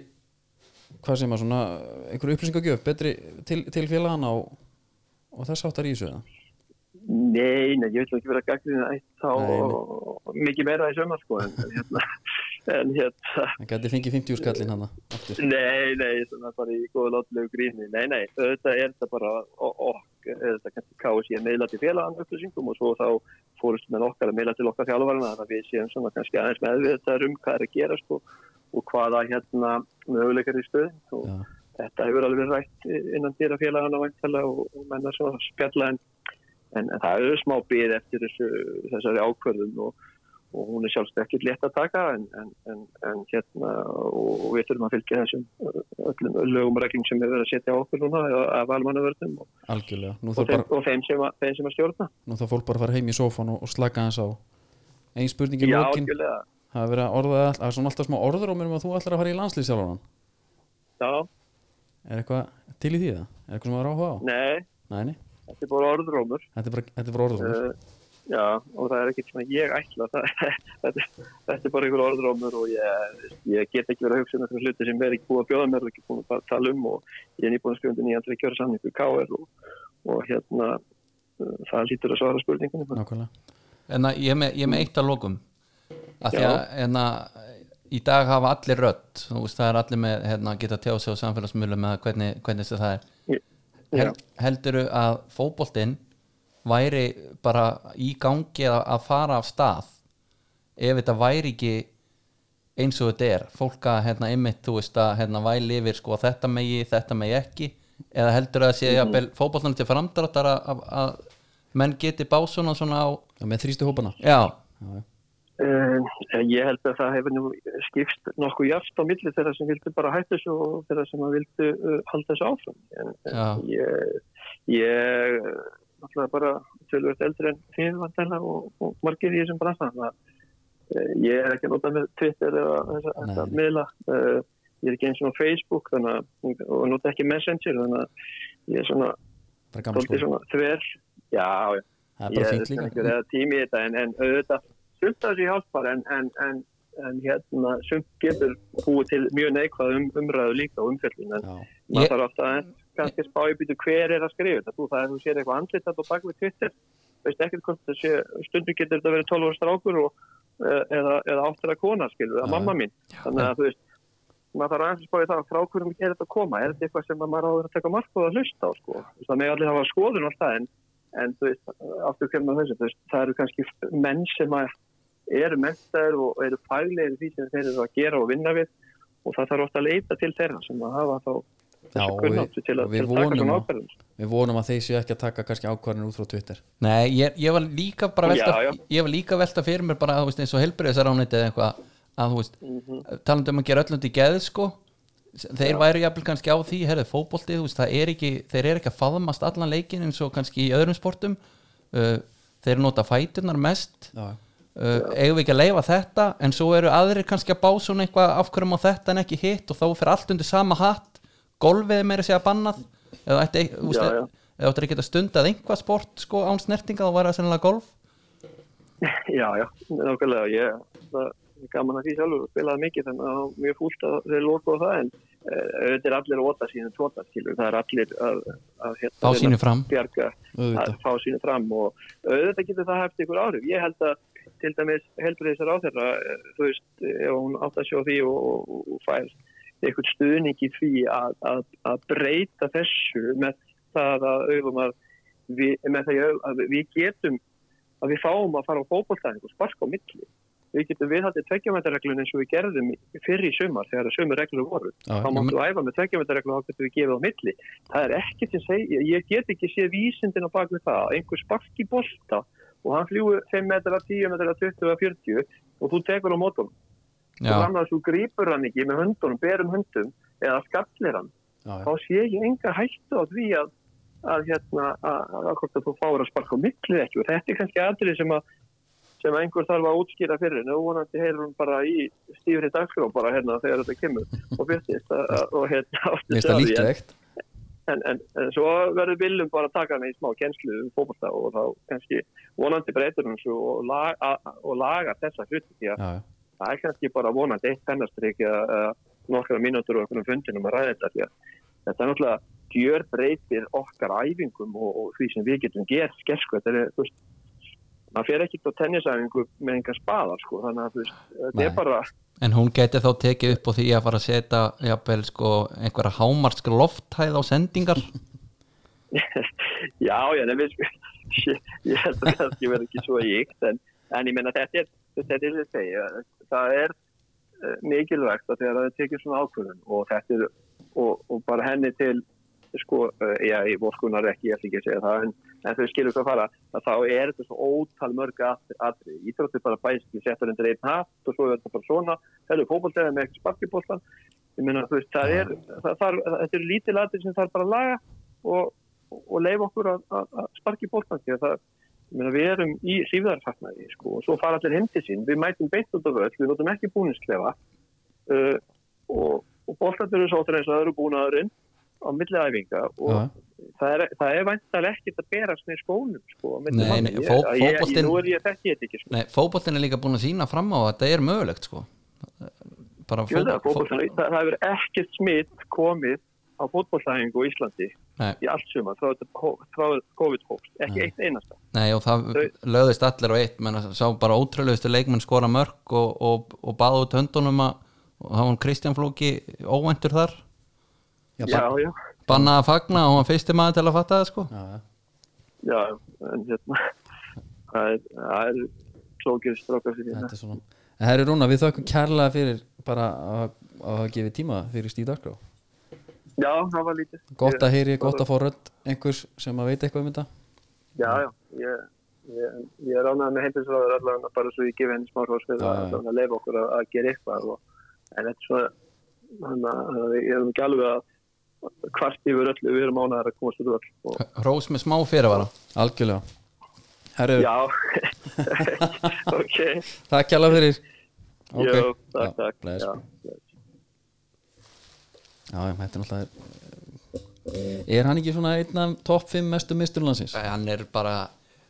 S2: hvað sem að svona einhverju upplýsingagjöf, betri til, til félagana og, og þess áttar í þessu eða?
S3: Nei, nei, ég vil nú ekki vera að gagnrýna eitt þá
S2: Nei,
S3: mikið meira í sömur sko en hérna, en hérna
S2: það gæti fengið 50 skallin hana aftur,
S3: Nei, nei, svona bara í góðu látlegu gríni. Nei, nei, auðvitað er þetta bara okk, auðvitað kannski KSI að meila til félagann upplýsingum og svo þá fórumst með okkar að meila til okkar fjálfarina þannig að við séum svona kannski aðeins meðvitaðar um hvað er að gerast og, og hvaða hérna möguleikar í stöðin og
S2: Já.
S3: þetta hefur alveg verið rætt eh, innan dýra félaganna vantala og, og menna svona spjalla en, en, en það eru smá byrð eftir þessu, þessari ákvörðum og og hún er sjálfsagt ekkert létt að taka en, en, en, en hérna og og við þurfum að fylgja þessum ö- öllum lögum og reglum sem er verið að setja á okkur núna af valmannavörnum og,
S2: algjörlega nú
S3: og,
S2: þarf
S3: þeim,
S2: bara,
S3: og þeim, sem að, þeim sem að stjórna
S2: nú þarf fólk bara að fara heim í sófan og, og slaka hans á ein spurning í
S3: Já,
S2: lokin
S3: algjörlega
S2: það er verið að orða all- það er svona alltaf smá orður um að þú ætlar að fara í landslýsjálfan
S3: Já,
S2: er eitthvað til í því það? er eitthvað sem það er áhuga á?
S3: nei,
S2: Nei, nei,
S3: þetta er bara orðrómur
S2: þetta er bara, þetta er bara orður
S3: uh, Já, og það er ekkert svona ég ætla það, þetta, þetta er bara einhver orðrómur og ég, ég get ekki verið að hugsa um einhverja hluti sem er ekki búið að bjóða mér og ekki búið að tala um og ég er nýbúin að skjóða nýjan til að kjöra samningu KR og, og hérna uh, það lítur að svara spurningunum
S2: nákvæmlega
S1: En að ég er með, ég er með eitt að lokum að því að, en að í dag hafa allir rödd þú veist, það er allir með hérna, geta tjá sig á samfélagsmiðlum með hvernig, hvernig sem það er Hel, helduru að fótboltinn væri bara í gangi að, að fara af stað ef þetta væri ekki eins og þetta er fólk að hérna einmitt þú veist að hérna væli yfir sko þetta megi, þetta megi ekki eða heldur að sé mm -hmm. fótboltan til framdráttar að, að, að menn geti básuna svona á
S2: Já, með þrýstu hópana
S1: já,
S2: já, já.
S3: Uh, ég held að það hefur nú skipst nokkuð jæft á milli þeirra sem vildu bara hættu þessu og þeirra sem að vildu uh, halda þessu áfram. En,
S1: Já.
S3: en ég, ég uh, náttúrulega bara tölvöld eldri en þið vandæla og, og margir í þessum bransan. Það, uh, ég er ekki að nota með Twitter eða þessa
S2: Nei,
S3: þessa
S2: nei.
S3: miðla. Uh, ég er ekki eins og á Facebook þannig, að- og nota ekki Messenger þannig að ég er svona,
S2: bara gammal
S3: dálítið
S2: sko
S3: svona þver. Já, já
S2: það er bara fínt
S3: ég er ekki
S2: líka
S3: verið að tími í þetta en, en auðvitað sumt af þessu hjálpar en, en, en, en hérna sumt getur búið til mjög neikvað um, umræðu líka og umfjöldin en
S2: já,
S1: Ég-
S3: maður þarf ofta að kannski spá í býtu hver er að skrifa þetta þú það er þú sér eitthvað andlit þetta og bak við Twitter veist ekkert hvort það sé stundum getur þetta verið 12 ára strákur og, eh, eða, eða áttara kona skilur
S2: Já.
S3: það mamma mín þannig að þú veist maður þarf aðeins að spá í það frá hverjum er þetta að koma er þetta eitthvað sem maður áður að taka mark og að hlusta á sko Þú veist, það með allir hafa skoðun og allt það en, en þú veist, aftur kemur maður þessu þú veist, það eru kannski menn sem að eru mennstæður og eru fæglegir í því sem þeir eru að gera og vinna við og það þarf ofta að leita til þeirra sem að hafa þá
S2: Já,
S3: þessu
S2: og
S3: kunnáttu
S2: við-
S3: til
S2: og
S3: að,
S2: við
S3: til að taka
S2: vonum
S3: svona
S2: að-
S3: ákverðum
S2: við vonum að þeir séu ekki að taka kannski ákvarðin út frá Twitter
S1: Nei, ég, ég var líka bara að velta,
S3: Já, já.
S1: Ég var líka að velta fyrir mér bara, þú veist, eins og helbriðisaránitið eða eitthvað, að þú veist
S3: Mhm.
S1: talandi um að gera öllum til geð, sko þeir væri jafnvel kannski á því, herrið, fótboltið þú veist, það er ekki, þeir eru ekki að faðmast allan leikin eins og kannski í öðrum sportum uh, þeir nota fæturnar mest
S2: já, já.
S1: uh, eigum við ekki að leifa þetta en svo eru aðrir kannski að bá svona eitthvað af hverju má þetta en ekki hitt og þá fyrir allt undir sama hatt golfið er meira að segja bannað eða ætti ekki- þú veist,
S3: Já, já.
S1: eða áttir ekki að stunda að einhvað sport sko án snertinga þá væri það sennilega golf
S3: Já, já, nákvæmlega ég, það er gaman að því sjálfur og spilaði mikið þannig að það var mjög fúlt að þeir lókuðu það en eh, auðvitað er allir að óta sínu tóta skilur, það er allir að, að hérna,
S1: Fá sínu fram.
S3: bjarga, að
S2: Auðvitað.
S3: fá sínu fram og auðvitað getur það haft ykkur áhrif ég held að til dæmis helbriðisar á þeirra þú veist, eh, ef hún átt að sjá því og, og, og fær eitthvað stuðning í því að, að, að breyta þessu með það að auðvum að við, með það í augum að við getum að við fáum að fara á fótbolltæðing og sparka á milli við getum viðhaldið tveggjumættarreglun eins og við gerðum í- fyrr í sumar þegar að sömu reglur voru
S2: Já,
S3: þá
S2: já,
S1: men-
S3: máttu æfa með tveggjumættarreglun og þá getum við gefið á milli það er ekkert sem segja, ég get ekki séð vísindina bak við það, að einhver sparki bolta og hann fljúi 5 metra, 10 metra, 20 eða 40 og þú tekur á mótum og
S1: Já,
S3: Sko, þannig að þú grýpur hann ekki með höndunum, berum höndum eða skallir hann
S2: já,
S3: þá sé ég enga hættu á því að að hérna, að, að hvort að þú fáir að sparka á milli ekki og þetta er kannski aðrið sem að sem að einhver þarf að útskýra fyrir henni og vonandi heyrur hún bara í stífri dagskrá bara hérna þegar þetta kemur og byrtist að- að- og hérna átti
S2: Mér finnst það líklegt
S3: en, en, en svo verður viljum bara taka hana í smá kjenslu um fókbalta og þá kannski vonandi breytur hún svo og, lag, a- og laga þessa hluti því að
S2: já, já.
S3: það er kannski bara vonandi eitt pennastrykk uh, nokkra mínútur og einhvern fundinum að ræða þetta því að þetta er náttúrulega gjör breytir okkar æfingum og, og því sem við getum gert skersku þetta er, þú veist maður fer ekkert á tennisæfingu með engar spadar sko, þannig að þú veist, þetta
S2: Nei.
S3: er bara
S1: En hún geti þá tekið upp á því að fara að setja jafnvel sko einhverja hámarsk lofthæð á sendingar
S3: Já, já, nefnir, ég, ég held að það skil verið ekki svo íkt en, en ég menna þetta er þetta er það segja, það er eh, mikilvægt að þegar það er tekið svona ákvörðun og þetta er og, og bara henni til sko, eh, já, ég vorskunar ekki, ég ætla ekki að segja það en, en þau skilur hvað fara að þá er þetta svo ótal mörg aðri íþróttir bara bæst, ég settur undir einn hatt og svo er þetta bara svona, það eru fókbaltæða með ekki sparkibóltan, ég meina þú veist það er, það þarf, þetta eru lítil aðri sem þarf bara að laga og, og leifa okkur að, að, að sparki bóltan því að það, ég meina, við erum í sífðarfattnaði sko, og svo fara allir heim til sín við mætum beint út af öll, við notum ekki búnisklefa uh, og, og bóltan eru sáttur eins og það eru búnaðurinn á milli æfinga og
S2: Já.
S3: það er, það er væntalega ekkert að berast með skónum sko, á milli
S1: Nei,
S3: manna.
S1: nei,
S3: Ég-
S1: fó-
S3: ég- ég-
S1: fótboltinn-
S3: nú er ég þekki þetta ekki sko.
S1: Nei, fótboltin er líka búin að sína fram á að þetta er mögulegt sko bara
S3: Ég veit það,
S1: fótbolt-
S3: fótboltinn- það það hefur ekkert smitt komið á fótbolltæfingu á Íslandi
S1: Nei.
S3: í allt suma frá, þetta hó- frá COVID-hóst, ekki eitt einasta
S1: Nei og það
S3: Þau-
S1: löðist allir á eitt menn að sá bara ótrúlegustu leikmenn skora mörg og, og, og baða út höndunum að og það var hann Kristján Flóki óvæntur þar
S3: Já, já,
S1: bannaði að fagna og hann var fyrsti maður til að fatta það sko
S2: já, já.
S3: já, en hérna, það er, það er klókir strákar fyrir hérna.
S2: Þetta er svona En herri Rúna, við þökkum kærlega fyrir bara að að hafa gefið tíma fyrir Stíð Darkró
S3: Já, það var lítið.
S2: Gott að heyri, gott að fá rödd einhvers sem að veit eitthvað um þetta
S3: Já, já, ég, ég, ég er ánægð með heimtinsráður allavega bara svo ég gefi henni smá hós fyrir
S2: Já, já.
S3: að allavega leifa okkur að, að gera eitthvað og, en þetta er hérna, svona, þannig að að við erum ekki alveg að kvart yfir öllu, við erum ánægðar að komast út úr öll og
S1: Rós með smá fyrirvara
S2: Algjörlega Herri,
S3: já, ok,
S2: takk kærlega fyrir Ok.
S3: jú,
S2: Já,
S3: takk, takk,
S2: bless.
S3: já,
S2: Já, já, þetta er náttúrulega Er hann ekki svona einn af topp 5 mestu misturlandsins?
S1: Æ, hann er bara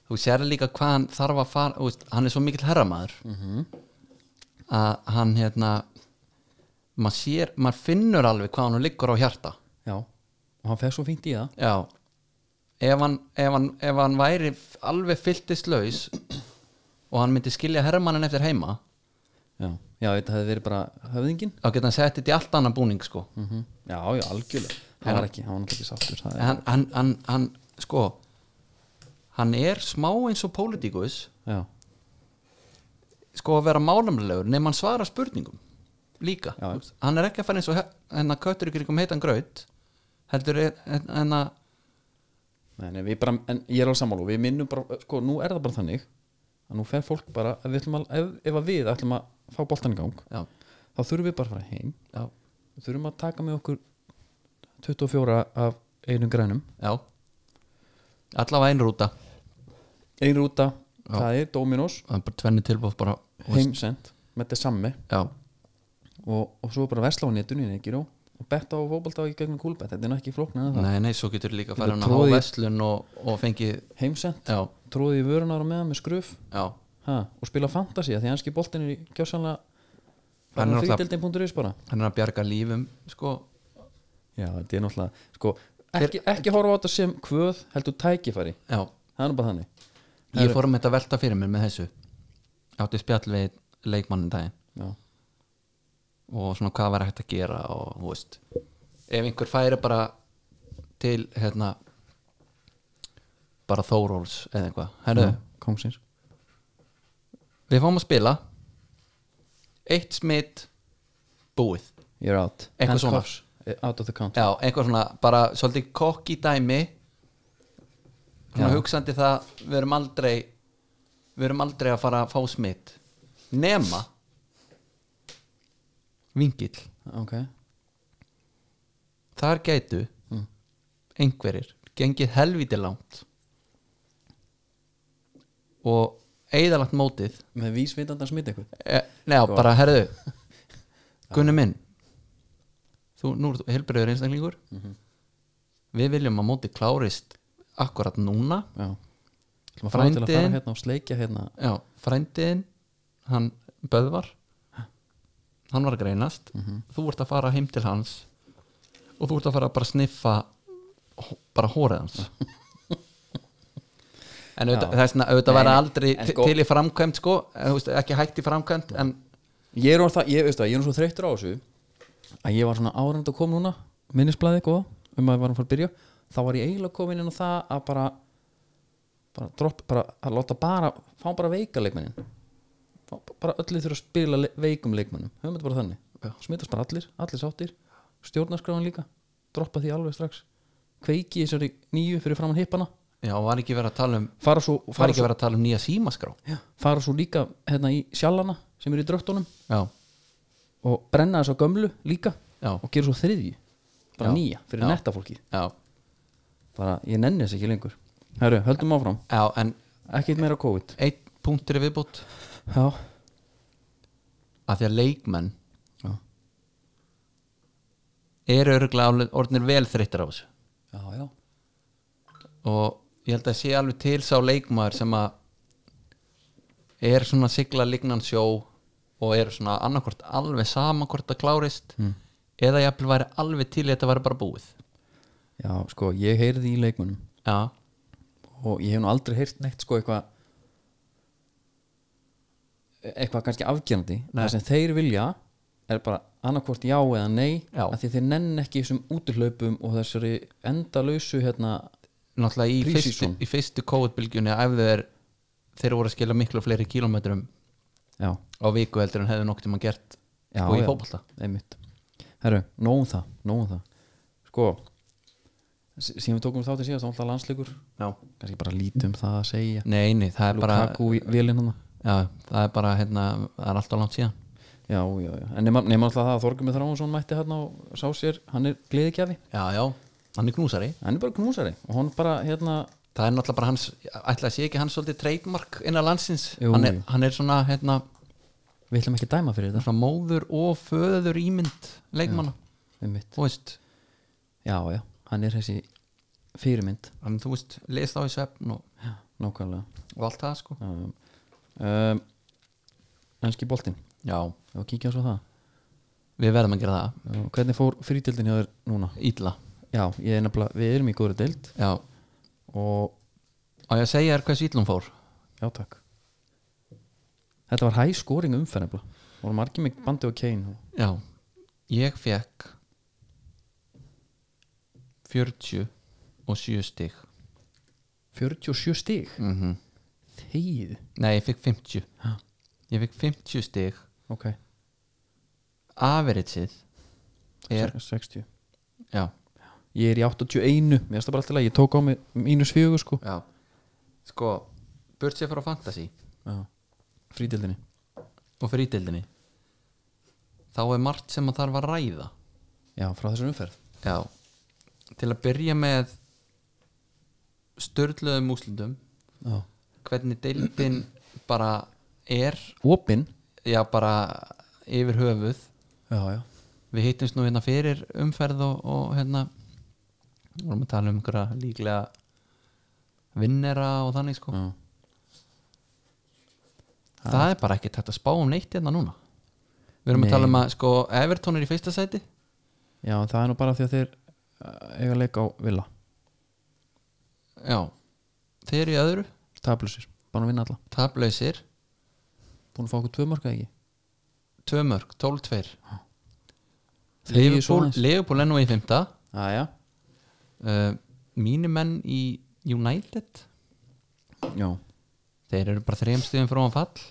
S1: þú sér líka hvað hann þarf að fara þú veist, hann er svo mikill herramaður að hann hérna maður sér, maður finnur alveg hvað hann liggur á hjarta
S2: Já, og hann fer svo fínt í það
S1: já ef hann, ef hann, ef hann væri f- alveg fylltislaus og hann myndi skilja herramannin eftir heima
S2: Já, já þetta hefði verið bara höfðingin
S1: þá geta hann sett þetta í allt annan búning sko
S2: mm Já, já, algjörlega Hann var ekki, hann var náttúrulega ekki sáttur það
S1: En
S2: er-
S1: hann, hann, hann, hann sko hann er smá eins og pólitíkus
S2: Já,
S1: sko að vera málumlegur nefn hann svara spurningum líka,
S2: Já.
S1: Þú veist, hann er ekki að fara eins og he- hennar köttur ykkur ykkur heitan gröð heldur er- hérna, en- hennar
S2: Nei, nei, við bara, en ég er alveg sammála og við minnum bara, sko, nú er það bara þannig að nú fer fólk bara, ef við, ætlum að, ef, ef að við ætlum að fá boltan í gang
S1: já,
S2: þá þurfum við bara að fara heim
S1: já,
S2: þurfum að taka með okkur 24 af einum grænum
S1: já allavega einn rúta
S2: ein rúta, það er Dominos
S1: það er bara tvenni tilbúð bara þú veist,
S2: heimsend, með þetta sammi
S1: já,
S2: og, og svo bara versla á netunni ekki, ró, og betta á fótbolta í gegnum kúlbett, þetta er náttúrulega ekki flóknar en það
S1: nei, nei, svo getur líka að fara
S2: Getur
S1: hann að
S2: troðið-
S1: há veslun og, og fengi
S2: heimsend,
S1: já,
S2: tróði í vörunar á meðan með skruf
S1: já,
S2: ha, og spila fantasy, af því hanski boltin er í kjásanlega
S1: Hann er
S2: bara
S1: náttúrulega-
S2: frídeldin.is bara
S1: hann er að bjarga lífum sko,
S2: Já, þetta er náttúrulega sko, ekki, ekki horfa á þetta sem kvöð heldur tækifæri,
S1: já
S2: það er nú bara þannig
S1: ég fór um þetta að velta fyrir mér með þessu átti spjall við leikmannin daginn
S2: Já,
S1: og svona hvað var hægt að gera og þú veist ef einhver færi bara til hérna bara Þóróls eða eitthvað Herru,
S2: Já, kongsins
S1: við fáum að spila eitt smitt búið,
S2: You're out
S1: Eitthvað
S2: And
S1: svona.
S2: cuffs, eh, Out of the count
S1: já, eitthvað svona bara svolítið kokki dæmi svona
S2: Já.
S1: hugsandi það við erum aldrei við erum aldrei að fara að fá smitt nema vingill
S2: Ok,
S1: þar gætu einhverjir gengið helvítið langt og eigðalagt mótið
S2: með vísvitandi að smita eitthvað
S1: e,
S2: Sko.
S1: neða, bara herðu Gunni minn þú, nú er þú helbriður einstaklingur
S2: Mhm.
S1: við viljum að mótið klárist akkurat núna
S2: já Ætlum að fara til að fara
S1: Frændinn-
S2: hérna og sleikja hérna
S1: já, frændiðin hann Böðvar hann var að greinast
S2: Mhm.
S1: þú ert að fara heim til hans og þú ert að fara að bara sniffa hó- bara hórið hans en auðvitað,
S2: Já.
S1: þess vegna auðvitað
S2: Nei,
S1: væri
S2: nei,
S1: aldrei
S2: en
S1: til-
S2: sko-
S1: til í framkvæmt sko, en, þú veist, ekki hægt í framkvæmt en
S2: ég er, orðinn það, ég, veistu, það, ég er nú svo þreyttur á þessu að ég var svona árand að koma núna minnisblæði góða um að við varum að fara að byrja þá var ég eiginlega komin inn á það að bara bara dropp, bara að láta bara fá bara veika leikmennin Fá bara öllu þurfa að spila le veikum leikmennum höfum þetta bara þannig, smitast bara allir allir sáttir, stjórnarskráin líka droppa því alveg strax kveiki í þessari nýju fyrir framann hippana
S1: já, var ekki verið að tala um
S2: fara svo,
S1: var
S2: fara
S1: ekki
S2: svo,
S1: verið að tala um nýja símaskrá
S2: já, fara svo líka hérna í sjallana sem eru í dröftunum
S1: já,
S2: og brenna þess á gömlu líka
S1: Já.
S2: og gera svo þriðju bara
S1: Já.
S2: nýja fyrir
S1: Já.
S2: netta fólki
S1: já,
S2: bara ég nenni þess ekki lengur Herru, höldum áfram,
S1: já en
S2: ekkert meira COVID
S1: einn punktur er viðbútt
S2: Já,
S1: að því að leikmenn
S2: já,
S1: eru örgulega orðnir vel þreyttir á þessu
S2: já, já.
S1: og ég held að sé alveg til sá leikmaður sem að er svona sigla lignan sjó og er svona annarkvort alveg sama hvort að klárist
S2: Hmm.
S1: eða jafnvel væri alveg til í að þetta væri bara búið
S2: Já, sko, ég heyrði í leikmunum
S1: já,
S2: og ég hef nú aldrei heyrt neitt sko eitthvað eitthvað kannski afgjandi
S1: Nei.
S2: það sem þeir vilja er bara annarkvort já eða nei
S1: Já.
S2: af því þeir nenn ekki þessum útihlaupum og þessari endalausu hérna
S1: náttúrulega í fyrstu,
S2: Pre-season.
S1: í fyrstu COVID-bylgjunni ef þeir, þeir voru að skila miklu fleiri kílómetrum
S2: já,
S1: á viku heldur en hefðu nokt um að gert
S2: já,
S1: og í
S2: já.
S1: fótbolta
S2: einmitt herru, nógum það, nógum það sko s- síðan við tókum þátt í síðast, þá var alltaf landsleikur
S1: já.
S2: kannski bara lítið um það að segja
S1: nei, nei, það er bara
S2: Lukaku í vélinn hann
S1: já, það er bara, hérna, það er alltaf langt síðan
S2: já, já, já, en nema, nema alltaf það að Þorgum Þráinsson mætti hérna og sá sér hann er gleðikjafi,
S1: já, já, hann er knúsari
S2: hann er bara knúsari og hann bara hérna
S1: það er náttúrulega bara hans ætla að sé ekki hans svolítið trademark innan landsins
S2: Jú,
S1: hann er,
S2: jú.
S1: hann er svona, hérna,
S2: við ætlum ekki að dæma fyrir þetta
S1: svona móður og föður ímynd leikmanna
S2: einmitt,
S1: þú veist,
S2: já, já, hann er þessi fyrirmynd,
S1: hann, þú veist, lest á í svefn og,
S2: já, nákvæmlega
S1: og allt það sko
S2: um, um, ennski boltinn
S1: já,
S2: ef að kíkja svo á það
S1: við verðum að gera það
S2: Já, Hvernig fór frítildin hjá þér núna?
S1: ítla,
S2: Já, ég er nefnilega, við erum í góðri deild
S1: já
S2: og,
S1: á ég að segja þér hvað sítlum fór
S2: já takk Þetta var hæg skóring umferð nefnilega voru margir með bandi og kein og,
S1: já, ég fekk 47 stig
S2: 47 stig
S1: mm
S2: Þegið
S1: nei, ég fekk 50
S2: Ha.
S1: ég fekk 50 stig
S2: Ok,
S1: aferiðsið er,
S2: se- 60
S1: já
S2: Ég er í 81, mér finnst það bara alltaf leið Ég tók á mig mínus fjögur sko
S1: Já Sko, burt sér frá fantasy
S2: Já. Frítildinni
S1: og frítildinni þá er margt sem að þarf að ræða
S2: Já, frá þessar umferð
S1: Já Til að byrja með störðlöðum úslundum
S2: Já.
S1: hvernig deildin bara er
S2: Opin
S1: já bara yfir höfuð
S2: Já, já
S1: við hittumst nú hérna fyrir umferð og, og hérna vorum að tala um einhverja líklega vinnera og þannig sko
S2: Já.
S1: það er bara ekki tætt að spá um neitt hérna núna við erum
S2: Nei.
S1: að tala um að sko Everton er í fyrsta sæti
S2: Já, en það er nú bara því að þeir uh, eiga leik á Villa
S1: já, þeir eru í öðru
S2: Tablusir, bara að vinna alla
S1: tablausir,
S2: Búin að fá okkur tvö mörg eða ekki
S1: tvö mörg, 12-2
S2: Líður
S1: Liverpool,
S2: svoleiðis.
S1: Liverpool er nú í fymta
S2: Aja.
S1: uh, mínu menn í United
S2: Já,
S1: þeir eru bara þrejum stöðum frá að fall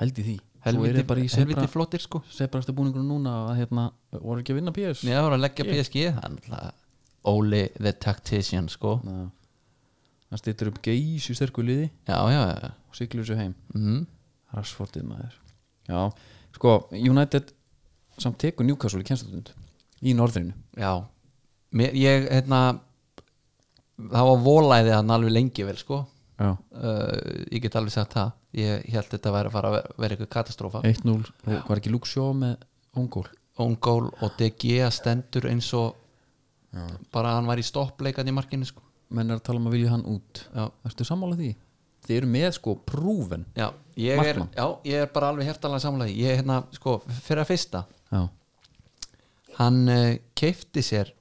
S2: pældi því Þú
S1: helviti,
S2: eru bara í
S1: helviti
S2: sebra,
S1: flottir sko
S2: sebrastu búningur núna að hérna, voru ekki að vinna PS
S1: ég var að leggja PSG hann alltaf Oli the Tactician sko
S2: Ná. Það stýttur upp geysi sterku liði
S1: já, já, já
S2: og siglu þessu heim
S1: mm.
S2: Rassfortið maður Já, sko, United samt tekur Newcastle í kjænstutund í norðrinu
S1: Já Mér, ég, hérna það var volæði hann alveg lengi vel sko
S2: já.
S1: uh, ég get alveg sagt það ég held þetta væri að fara að ver- vera eitthvað katastrófa
S2: 1-0, og var ekki Luxjó með Ongól
S1: Ongól og DG stendur eins og bara hann var í stoppleikan í markinu sko
S2: menn er að tala um að vilja hann út
S1: Já.
S2: ertu sammála því? þið eru með sko prúven
S1: Já, ég er,
S2: Markmann.
S1: já, ég er bara alveg hértalega samlega ég er hérna, sko, fyrir að fyrsta
S2: já,
S1: hann uh, keifti sér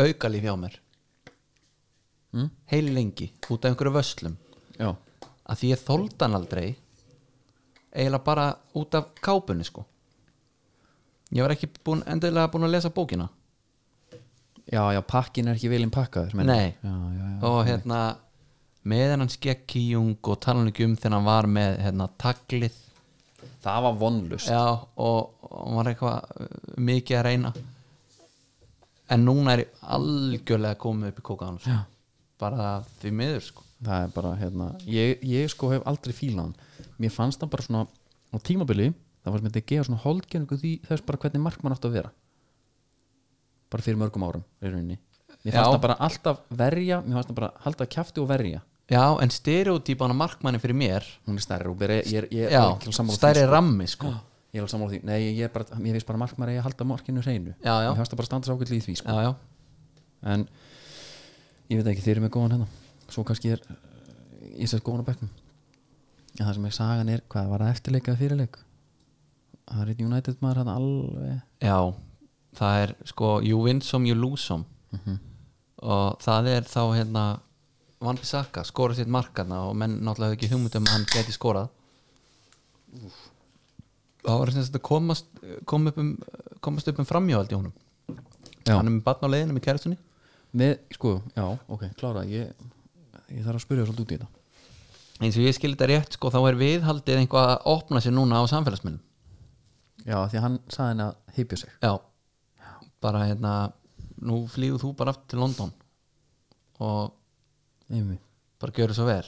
S1: aukalíf hjá mér
S2: Hm?
S1: mm? heil lengi út af einhverju vöslum
S2: já,
S1: að því ég þóldi hann aldrei eiginlega bara út af kápunni sko ég var ekki búin, endilega búin að lesa bókina
S2: já, já pakkin er ekki velinn pakkaður menn.
S1: Nei.
S2: já, já, já.
S1: og hérna með hennan skekkíjung og talan ekki um þegar hann var með hérna taglið
S2: það var vonlust
S1: já, og, og hann var eitthvað uh, mikið að reyna en núna er ég algjörlega komið upp í kókaðan sko. bara því miður sko
S2: það er bara hérna ég, ég sko hef aldrei fílað hann mér fannst hann bara svona á tímabili það var sem þetta að gefa svona holdgenningu því þess bara hvernig markmann átt að vera bara fyrir mörgum árum í rauninni mér fannst
S1: Já.
S2: hann bara alltaf verja mér fannst hann bara halda kjafti og verja
S1: já, en stereotypan af markmanni fyrir mér
S2: hún er stærri og bara ég er, ég er
S1: já,
S2: ekki alveg sammála því,
S1: stærri
S2: sko.
S1: rammi sko
S2: ég er alveg sammála því nei, ég, er bara, ég veist bara að markmann er að halda markinu hreinu
S1: Já, já.
S2: mér fannst það bara standa sákvæðli í því sko.
S1: já, já,
S2: en ég veit ekki, þeir eru með góðan hérna svo kannski er eh, ég sætt góðan á bekknum en það sem ég sagan er, hvað var það eftirleik eða fyrirleik það er einn United maður hann alveg
S1: Já, það er sko you win some, you lose some og það er þá hérna Van Bissaka skora sitt markana og menn náttúrulega höfðu ekki hugmynd um að hann geti skorað Það var sem sagt að komast kom upp um, komast upp um framjóhald í honum
S2: Já.
S1: Hann er með batn á leiðinu með kærastunni
S2: með, sko, já, ok, klára ég, ég þarf að spyrja svolítið út í þetta
S1: eins og ég skil þetta rétt sko þá er viðhaldið einhvað að opna sér núna á samfélagsmiðlum
S2: já, af því að hann saði henni að heipja sig
S1: Já bara hérna, nú flýðu þú bara aftur til London og
S2: Einmi.
S1: bara gjöru svo vel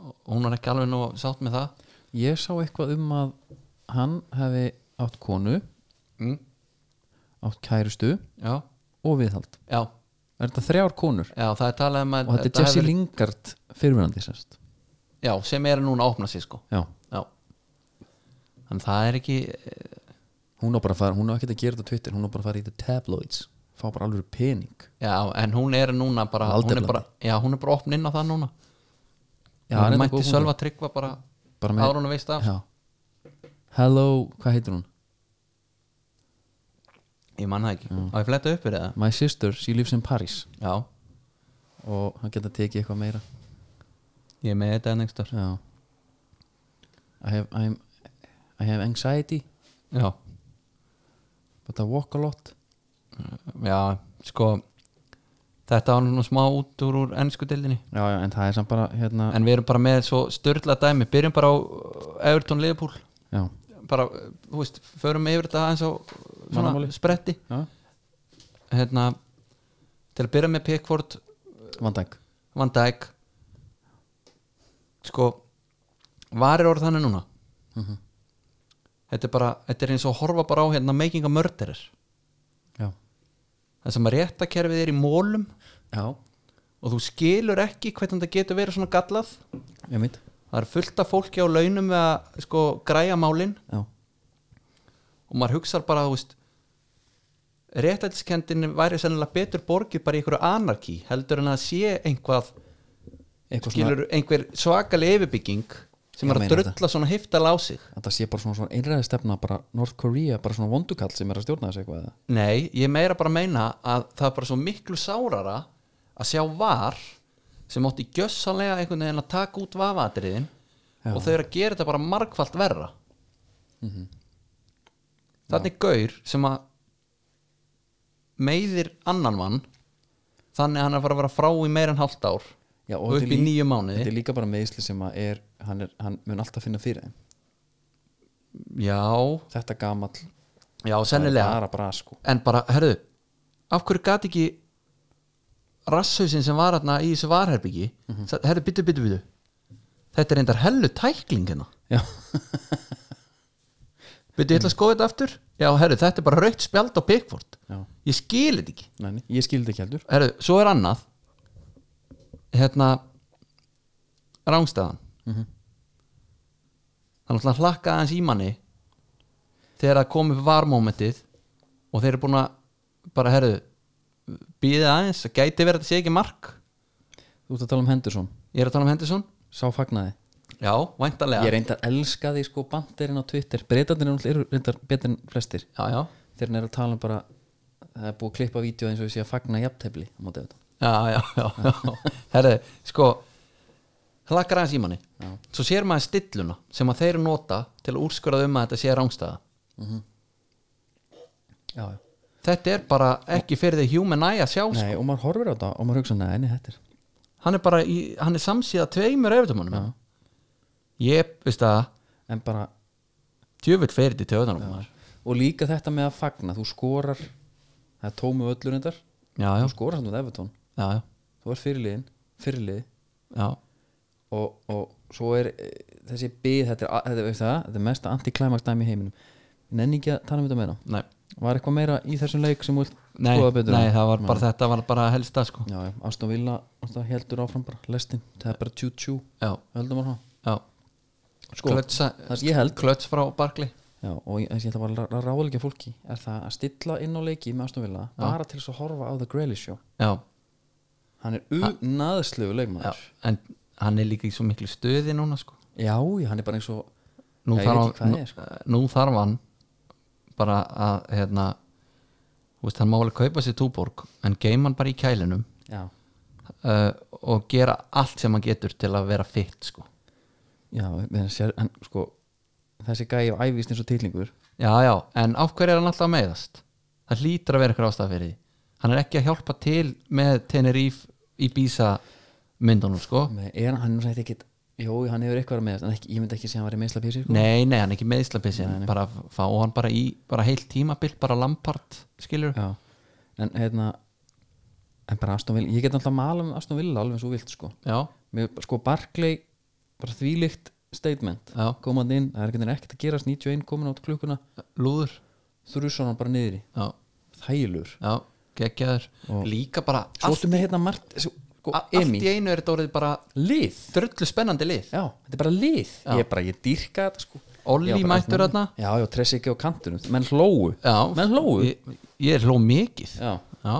S1: og hún var ekki alveg nú sátt með það
S2: ég sá eitthvað um að hann hefði átt konu
S1: mm.
S2: átt kærustu
S1: já,
S2: og viðhald
S1: já,
S2: er þetta þrjár konur
S1: já, það er talað um að
S2: og þetta er
S1: þetta
S2: Jesse
S1: hefur-
S2: Lingard fyrirverandi sérst
S1: já, sem er núna að opna sig sko
S2: já,
S1: já. þannig það er ekki eh,
S2: hún á bara að fara, hún á ekkert að gera þetta á Twitter hún á bara að fara í the tabloids fá bara alveg pening
S1: já, en hún er núna bara, hún er
S2: Valdeflandi.
S1: bara já, hún er bara opn inn á það núna
S2: Já, það er
S1: hún
S2: þetta
S1: mætti
S2: góð
S1: sölva tryggva bara,
S2: Bara
S1: bara
S2: með-
S1: ára hún veist af
S2: já. hello, hvað heitir hún?
S1: ég mann það ekki, á ég fletta upp fyrir það
S2: my sister, she lives in Paris
S1: Mm. já,
S2: og hann geta tekið eitthvað meira
S1: ég er með þetta en einhver
S2: já I have, I'm, I have anxiety
S1: já,
S2: but I walk a lot
S1: já, sko þetta var nú smá út úr, úr ennsku dildinni
S2: já, já, en það er samt bara hérna
S1: en við erum bara með svo störla dæmi byrjum bara á uh, Everton Liverpool
S2: já,
S1: bara, uh, þú veist, förum yfir þetta aðeins á uh, svona
S2: Mannamáli.
S1: spretti
S2: já,
S1: hérna, til að byrja með Pickford
S2: vandæk
S1: Van Dijk sko var er orð þannig núna þetta er bara, þetta er eins og að horfa bara á hérna making a murderer
S2: já,
S1: það sem að réttakerfið er í mólum
S2: já,
S1: og þú skilur ekki hvernig þetta getur verið svona gallað
S2: ég mitt
S1: það er fullt af fólki á launum við að sko græja málin
S2: já,
S1: og maður hugsar bara þú veist réttætskendin væri sennilega betur borgið bara í einhverju anarki heldur en að sé einhvað
S2: eitthvað
S1: skilur einhver svakaleg yfirbygging sem
S2: Ég
S1: er að
S2: meina
S1: drulla svona heiftal á sig
S2: þetta sé bara svona, svona einræði stefna bara North Korea, bara svona vondukall sem er að stjórna þessu eitthvað eða?
S1: nei, ég meira bara meina að það er bara svo miklu sárara að sjá var sem átti gjössanlega einhvern veginn að taka út vafatriðin og þau eru að gera þetta bara margfalt verra
S2: Mhm.
S1: þannig gaur sem að meiðir annan mann þannig að hann er að fara að vera frá í meira en hálft ár
S2: Já,
S1: og
S2: þetta
S1: upp
S2: er
S1: í
S2: lí-
S1: nýju
S2: þetta
S1: mánuði
S2: er líka bara meðisli sem að er hann, er, hann mun alltaf finna fyrir þeim
S1: já,
S2: þetta gamall,
S1: já,
S2: það er
S1: sennilega
S2: bara bra sko
S1: en bara, herðu, af hverju gat ekki rasshausin sem var hérna í þessu varherbyggi herðu, byttu, byttu, byttu þetta er endar hellu tækling hérna
S2: já
S1: veitu, ég ætla að skoða þetta aftur já, herru, þetta er bara raukt spjald á Pickford
S2: Já.
S1: ég skil þetta ekki
S2: Nei, nei, ég skildi ekki heldur
S1: herru, svo er annað hérna rángstæðan mm -hmm. hann hlakkaði aðeins í manni þegar það kom upp varmómentið og þeir eru búin að bara, herru, býðið aðeins það gæti verið að þetta sé ekki mark
S2: Þú ert að tala um Henderson,
S1: ég er að tala um Henderson
S2: sá fagnaði
S1: já, væntanlega
S2: Ég reyndar elska því sko bandirinn á Twitter Breytandir eru reyndar betur en flestir
S1: já, já,
S2: Þegar hann er að tala um bara Það er búið að klippa vídeo eins og ég sé að fagna jafntefli á móti Everton.
S1: já, já, já, já. herri, sko hlakkar aðeins í manni svo sér maður stilluna sem að þeir nota til að úrskurða um að þetta sé rángstæða
S2: Já, já
S1: þetta er bara ekki fyrir því human eye að sjá sko.
S2: Nei, og maður horfir á þetta og maður hugsa Nei, nei, þetta er
S1: hann er bara, í, hann er samsíða tveimur efutumunum ég veist að
S2: En bara
S1: djöfull fyrir til tjóðanum já.
S2: Og líka þetta með að fagna Þú skorar Það er tómu öllur reyndar
S1: já, já,
S2: Þú skorar samt með Evertón
S1: já, já,
S2: Þú er fyrirliðin Fyrirliði
S1: já
S2: og, og svo er e, þessi bið þetta er, a- þetta, veist það, þetta er mesta antiklæmaks dæmi í heiminum nenni ekki að tala um þetta meira
S1: nei,
S2: var eitthvað meira í þessum leik sem vilt
S1: nei,
S2: skoða betur
S1: nei það var bara þetta var bara helsta sko
S2: já, já, Aston Villa náttúrulega heldur áfram bara lestin, það er bara 22
S1: já,
S2: höldum bara það
S1: já,
S2: sko,
S1: klötsa
S2: það sem ég held
S1: klöts frá Barkley
S2: já, og ég, þessi ég ætla bara að ráðleika fólki er það að stilla inn á leiki með Aston Villa bara til þess að horfa á The Grealish Show
S1: já,
S2: hann er unaðslegu
S1: já,
S2: leikmaður
S1: en hann er líka í svo miklu stuði núna sko
S2: já, já, hann er bara eins og
S1: nú,
S2: Já, ég veit
S1: þarf,
S2: ekki hvað
S1: hann,
S2: það
S1: nú,
S2: er, sko.
S1: nú þarf hann bara að hérna, þú veist, hann má alveg kaupa sér túborg en geima hann bara í kælinum
S2: sko. já,
S1: uh, og gera allt sem hann getur til að vera fitt sko.
S2: já, menn sér, hann, sko, þessi gæi af æfist eins og tillingur
S1: já já, en af hverju er hann alltaf að meiðast það hlýtur að vera eitthvað ástæða fyrir því hann er ekki að hjálpa til með Tenerife í Bísa myndunum sko
S2: Nei, er hann, hann sætti ekkit Jó, hann hefur eitthvað að meðast En ekki, ég myndi ekki segja hann var í meðsla písi sko.
S1: nei, nei, hann er ekki meðislabissi bara fá hann bara í, bara heilt tímabilt bara Lampard, skilur
S2: Já. En hérna En bara Aston Villa, ég get alltaf að mala um Aston Villa Alveg svo vilt sko
S1: já,
S2: Mér, Sko Barclay, bara þvílíkt statement
S1: Já.
S2: Komandi inn, það er einhvern veginn ekkert að gerast 91 komin át klukkuna,
S1: lúður
S2: þrjusar hann bara niðri
S1: já
S2: Þælur
S1: já, geggjaður líka bara
S2: Svo
S1: allt,
S2: ertu með hérna margt svo, sko,
S1: a- allt
S2: Emi,
S1: í einu er þetta orðið bara
S2: lið
S1: drullu spennandi lið
S2: Já, þetta er bara lið Ég er bara, ég dýrka þetta sko
S1: Olli
S2: Ég var bara-
S1: mættur þarna?
S2: Já, já, tress ekki á kantunum, menn hlóu
S1: já,
S2: Menn hlóu
S1: ég, ég hló mikið
S2: Já,
S1: já,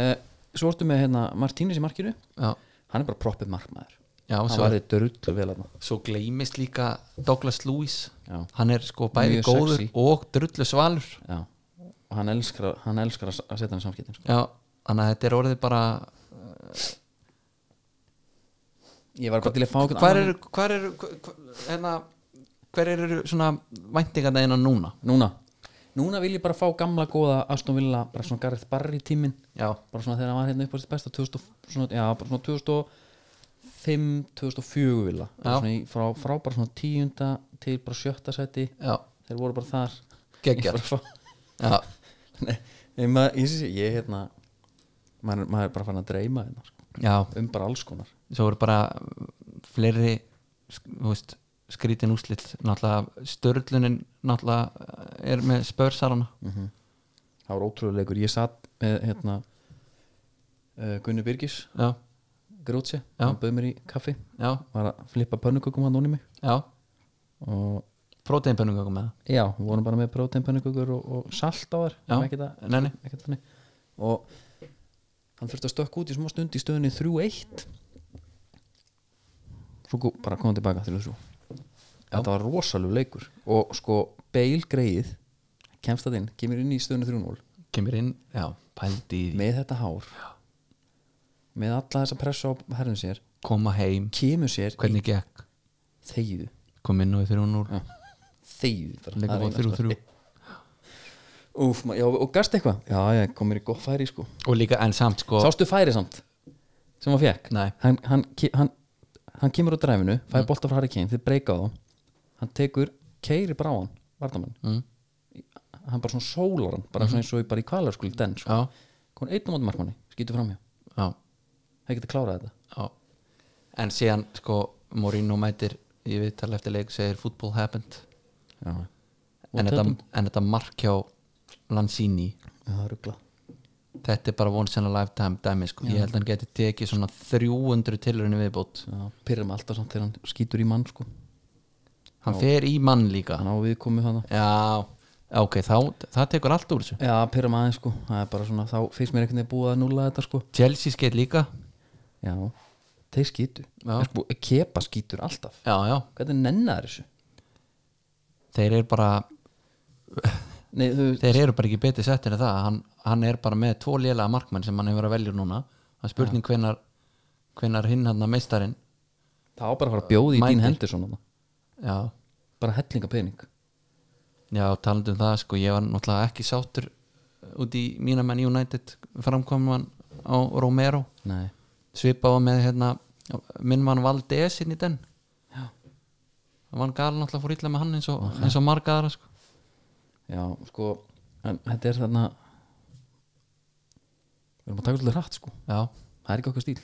S2: uh, svo ertu með hérna Martínez í markinu
S1: já,
S2: hann er bara proppið markmaður
S1: já
S2: hann
S1: svo,
S2: varði dörullu vel hann
S1: svo gleymist líka Douglas Lewis
S2: Já.
S1: hann er sko bæði
S2: Mjög
S1: góður
S2: sexy.
S1: og drullu svalur
S2: já og hann elskar, hann elskar að s- að setja hann í samskiptin sko.
S1: já, þannig að þetta er orðið bara
S2: ég var bara til að fá einhvern
S1: hver eru hver eru hver- hérna hver eru svona væntingarna innan núna
S2: núna núna vil ég bara fá gamla góða Aston Villa bara svona Gareth Barry tímin
S1: já,
S2: bara svona þegar hann var hérna upp á sitt besta 2000, og- svona, já, bara svona 2005 2004 Villa
S1: Já.
S2: Bara svona í- frá, frá bara svona tíunda til bara sjötta seti
S1: já,
S2: þeir voru bara þar
S1: Geggjað.
S2: Ég bara fá-
S1: já,
S2: Nei, ég, maður, ég, ég, ég hérna maður, maður er bara fann að dreyma hérna, sko,
S1: já.
S2: um bara alls konar
S1: svo eru bara fleiri sk- þú veist, skrítin úslitt náttúrulega störlunin náttúrulega eh, er með spörsarana
S2: Mm. það var ótrúlega leikur, ég satt með hérna uh, Gunni Birgis
S1: já,
S2: Grótsi, hann bauð mér í kaffi
S1: já,
S2: var að flippa pönnukökum hann óni mig
S1: já
S2: og
S1: proteinpönnungöku með
S2: já, við vorum bara með prótein pönnukökur og, og salt á þær
S1: Já.
S2: ekkert að-
S1: Nei, nei.
S2: ekkert þannig. og hann þurfti að stökk út í smá stund í stöðunni 3-1 svo gó- bara komum tilbaka til þessu þetta var rosalug leikur og sko Bale greið kemst það inn, kemur inn í stöðunni 3-0
S1: það kemur inn, já, pældi í því
S2: með þetta hár með alla þessa pressa á herðum sér
S1: koma heim,
S2: kemur sér
S1: hvernig gekk
S2: í þegju
S1: kom inn og við þrjún úr,
S2: þegju bara.
S1: leikum
S2: Það er
S1: á
S2: eina
S1: þrjú
S2: sem
S1: þrjú
S2: er- Úff, ma- já, og gast eitthvað já, já, komur í gott færi sko
S1: og líka en samt sko
S2: sástu færi samt sem hann fekk
S1: Nei.
S2: hann, hann, ke- hann, hann kemur á dræfinu fæði mm. bolta frá Harry Kane, þið breyka á þá hann tekur keiri brá hann vartamann mm. hann bara svona sólar hann, bara svona eins og í- bara í kvalar sko, den, sko.
S1: Mhm. já,
S2: hún einn á móti markmanni, skýtu framhjá
S1: já,
S2: það getur klárað þetta
S1: já en síðan sko Morino mætir í viðtal eftir leik segir football happened
S2: já.
S1: en þetta, en þetta mark hjá Lanzini
S2: það er ruggla
S1: þetta er bara once in a lifetime dæmi sko. ég held að hann geti tekið svona 300 tilrunni viðbútt
S2: pyrrum alltaf samt þegar hann skýtur í mann sko.
S1: hann fer í mann líka
S2: hann á við komið þannig
S1: já, ok, þá, það tekur allt úr þessu
S2: já, pyrrum aðeins sko. það er bara svona þá finnst mér einhvern veginn búið að núla þetta sko.
S1: Chelsea skeitt líka
S2: já, þeir skýtu
S1: Já.
S2: sko, kepa skýtur alltaf
S1: já, já,
S2: hvernig nennar þessu
S1: þeir eru bara
S2: Nei, þú,
S1: þeir eru bara ekki betið settir en það hann, hann er bara með tvo lélega markmenn sem hann hefur verið að velja núna það er spurning hvenar, hvenar hinn hann að meistarinn
S2: það á bara að fara að bjóði í
S1: Mætir.
S2: dín hendur svona
S1: já,
S2: bara hellinga pening
S1: já talandi um það sko ég var náttúrulega ekki sáttur uh, út í mína menn United framkoman á Romero
S2: nei,
S1: svipaða með hérna minn mann Valdes inn í den það var gala náttúrulega fór illa með hann eins og, eins og marga aðra sko.
S2: já, sko en þetta er þarna við erum að taka svolítið hratt sko
S1: já,
S2: það er ekki okkar stíl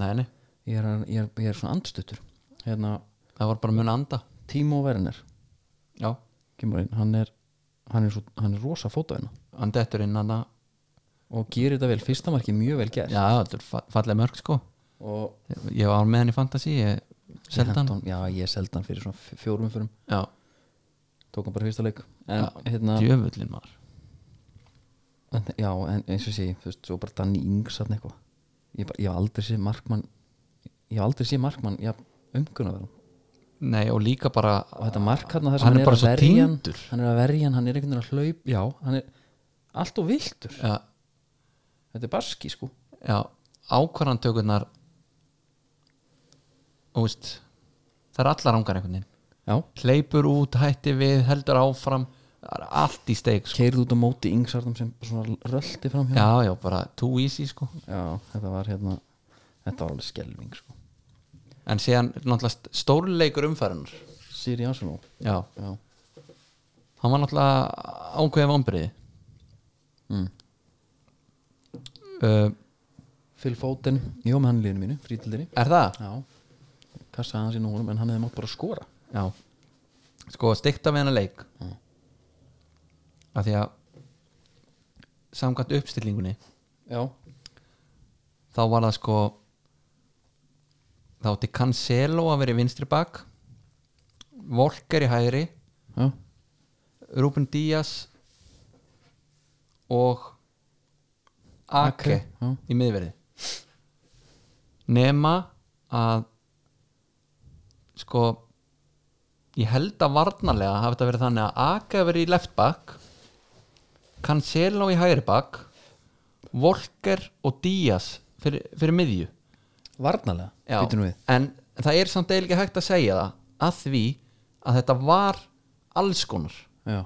S1: nei, nei,
S2: ég er, ég er, ég er svona andstuttur hérna,
S1: það var bara mun anda
S2: Timo Werner
S1: já,
S2: kemur inn, hann er hann er, svo, hann er rosa fótaðina
S1: hann dettur inn hann
S2: og gerir þetta vel, fyrsta marki mjög vel gert
S1: já, þetta er fa- falleg mörg sko
S2: og
S1: ég var með hann í Fantasí ég seldi hann
S2: Henton, já, ég seldi hann fyrir svona f- fjórum fyrir
S1: já,
S2: tók hann bara fyrsta leik en, hérna,
S1: djöfullin maður
S2: en, já, en eins og sé, þú veist, svo bara Danny Ings hann eitthvað, ég, bara- ég hef aldrei sé markmann ég hef aldrei sé markmann já, umkunnaverðan
S1: nei, og líka bara
S2: og þetta mark hann þar
S1: Hann
S2: sem hann
S1: er
S2: er
S1: bara
S2: að
S1: svo
S2: verja hann
S1: týndur.
S2: hann er að verja hann, hann er einhvern veginn að hlaup já, hann er allt og viltur
S1: já,
S2: þetta er baski sko
S1: já ákvarðantökurnar og veist það er allar ángar einhvern veginn
S2: já,
S1: hleypur út, hætti við, heldur áfram það er allt í steik sko.
S2: keirðu út á móti yngsarðum sem bara svona rölti fram hjá
S1: já, já, bara too easy sko.
S2: já, þetta var hérna þetta var alveg skelving sko
S1: en síðan náttúrulega st- stórleikur umfærunar
S2: Siri Arsenal
S1: já,
S2: já,
S1: hann var náttúrulega ákveðið vombriði
S2: Mm.
S1: uh,
S2: Phil Foden ég var með hann í liðinu mínu, frítildinni
S1: er það?
S2: já, kassaði hans í núlum en hann hefði mátt bara skora
S1: Já Sko, stikta við hennar leik mm. að því að samkvæmt uppstillingunni
S2: já,
S1: þá var það sko þá átti Cancelo að vera í vinstri bak Volker í hægri
S2: já,
S1: Ruben Díaz og Ake
S2: Ake, já.
S1: í miðverði nema að sko ég held að varnarlega hafi þetta verið þannig að Ake hafi verið í left back Cancelo í hægri back Volker og Díaz fyrir, fyrir miðju
S2: varnalega
S1: Já,
S2: býtum við
S1: en það er samt eiginlega ekki hægt að segja það að því að þetta var alls konar
S2: já,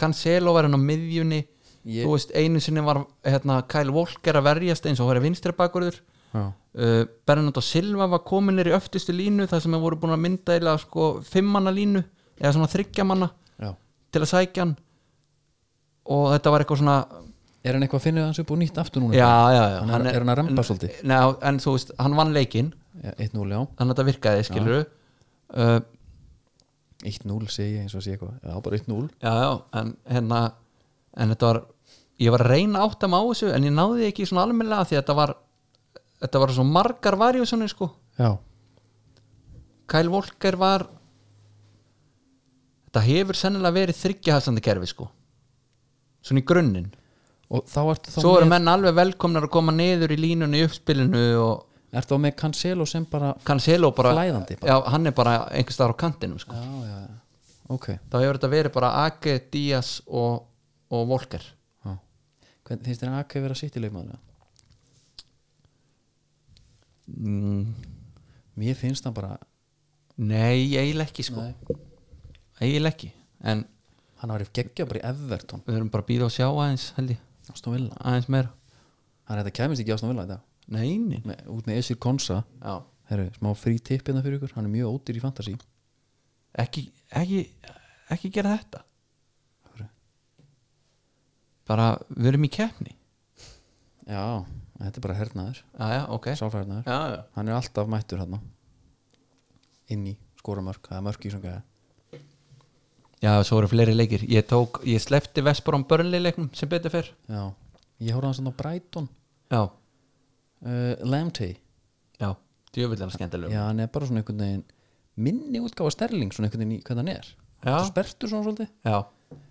S1: Cancelo var hann á miðjunni
S2: Ég-
S1: þú veist, einu sinni var hérna, Kyle Walker að verjast eins og hann var vinstri bakurður
S2: já,
S1: uh, Bernardo Silva var kominir í öftustu línu þar sem hann voru búin að mynda eða sko fimmanna línu eða svona þryggjamanna
S2: já
S1: til að sækja hann og þetta var eitthvað svona
S2: er hann eitthvað að finna hans upp og nýtt aftur núna
S1: já, já, já,
S2: Hann er- er hann að ramba svolítið?
S1: Nei, en þú veist, hann vann leikinn
S2: Já, 1-0, já,
S1: þannig að þetta virkaði, skilur uh,
S2: 1-0 segi ég eins og sé eitthvað já, bara 1-0
S1: já, já, en hérna en þetta var, ég var að reyna átt að má þessu en ég náði því ekki svona almennilega því að þetta var, þetta var svo margar varjósunni sko,
S2: já,
S1: Kyle Walker var þetta hefur sennilega verið þryggjahælsandi kerfi sko svona í grunninn,
S2: og þá ertu þá
S1: svo eru
S2: með,
S1: menn alveg velkomnar að koma niður í línunni í uppspilinu og
S2: ertu þá með Cancelo sem bara
S1: Cancelo bara,
S2: Flæðandi bara.
S1: já, hann er bara einhvers staðar á kantinum sko,
S2: já, já, já, ok
S1: þá hefur þetta verið bara Ake, Díaz og, og Walker
S2: Já. Hvernig finnst þér að Ake vera sitt í leikmaður?
S1: mm,
S2: Mér finnst hann bara,
S1: Nei, eiginlega ekki sko
S2: Nei.
S1: eiginlega ekki en
S2: hann var í geggja bara í Everton
S1: við erum bara að býða og sjá aðeins held ég,
S2: Aston Villa,
S1: aðeins meira
S2: hann er þetta kemist ekki í Aston Villa í dag
S1: Neini
S2: með, út með Esir Konsa
S1: Já,
S2: Heru, smá frí tippina fyrir ykkur, hann er mjög ódýr í fantasy
S1: ekki, ekki ekki gera þetta bara, við erum í keppni
S2: já, þetta er bara hernaður
S1: Já, já, ok Já,
S2: sálfærnaður,
S1: já,
S2: hann er alltaf mættur hann inn í skoramörk, það er mörk í svona gæða
S1: já, svo eru fleiri leikir ég, tók, ég slefti Vestbrón börnleileiknum sem betur fyrr
S2: já, ég horfði hans á Brighton
S1: já,
S2: uh, Lamptey
S1: já, djöfullega skemmtilegum
S2: já, hann er bara svona einhvern veginn minni útgáfa Sterling svona einhvern veginn í hvað hann er
S1: Já.
S2: Þetta sperrtur svona svolítið
S1: já,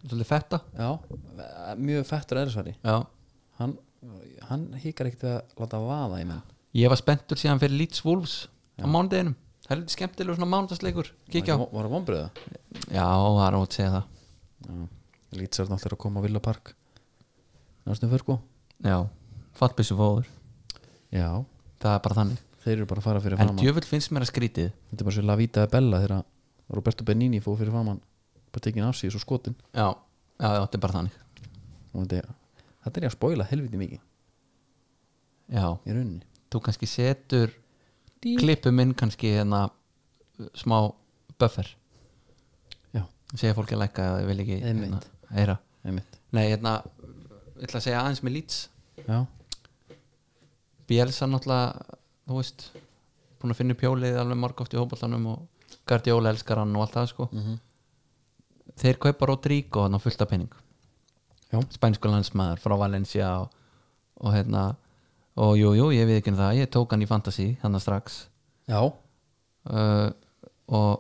S1: svolítið fetta
S2: já, eh, mjög fettur eðrisværi
S1: já,
S2: hann, hann hikar ekkert við að láta vaða í menn
S1: ég var spenntur síðan fyrir Leeds Wolves á mánudeginum, það er lítið skemmtilegur svona mánudagsleikur, kíkja á
S2: Var- var að vonbröða
S1: já, það er ótt að segja það
S2: Lítsar náttúrulega að koma á Villa Park Næstum fyrir sko
S1: já, fattbissu fóður
S2: Já,
S1: það er bara þannig,
S2: þeir eru bara að fara fyrir
S1: en
S2: framann
S1: djöfull finnst mér að skrítið
S2: Þetta er bara svo La Vita e Bella þegar að Roberto Benini fóð fyrir framann bara tekin af sig svo skotin
S1: já, já, já, þetta er bara þannig
S2: Og þetta er, þetta er ég að spoila helviti mikið
S1: já,
S2: í rauninni
S1: þú kannski setur klippum inn kannski hérna uh, smá buffer
S2: Já,
S1: segja fólki að lækka eða ég vil ekki
S2: Einmitt.
S1: hérna, heyra
S2: einmitt
S1: nei, hérna, ég ætla að segja aðeins með Leeds
S2: Já,
S1: Bielsa náttúrulega, þú veist búin að finna upp hjólið alveg margótt í hópallanum og Guardiola elskar hann og allt það sko þeir kaupa Rodrigo hann á fullta penning
S2: Já.
S1: spænsku landsmaður frá Valencia og, og hérna og jú, jú, ég við ekki um það, ég tók hann í fantasy hann strax
S2: já,
S1: uh, og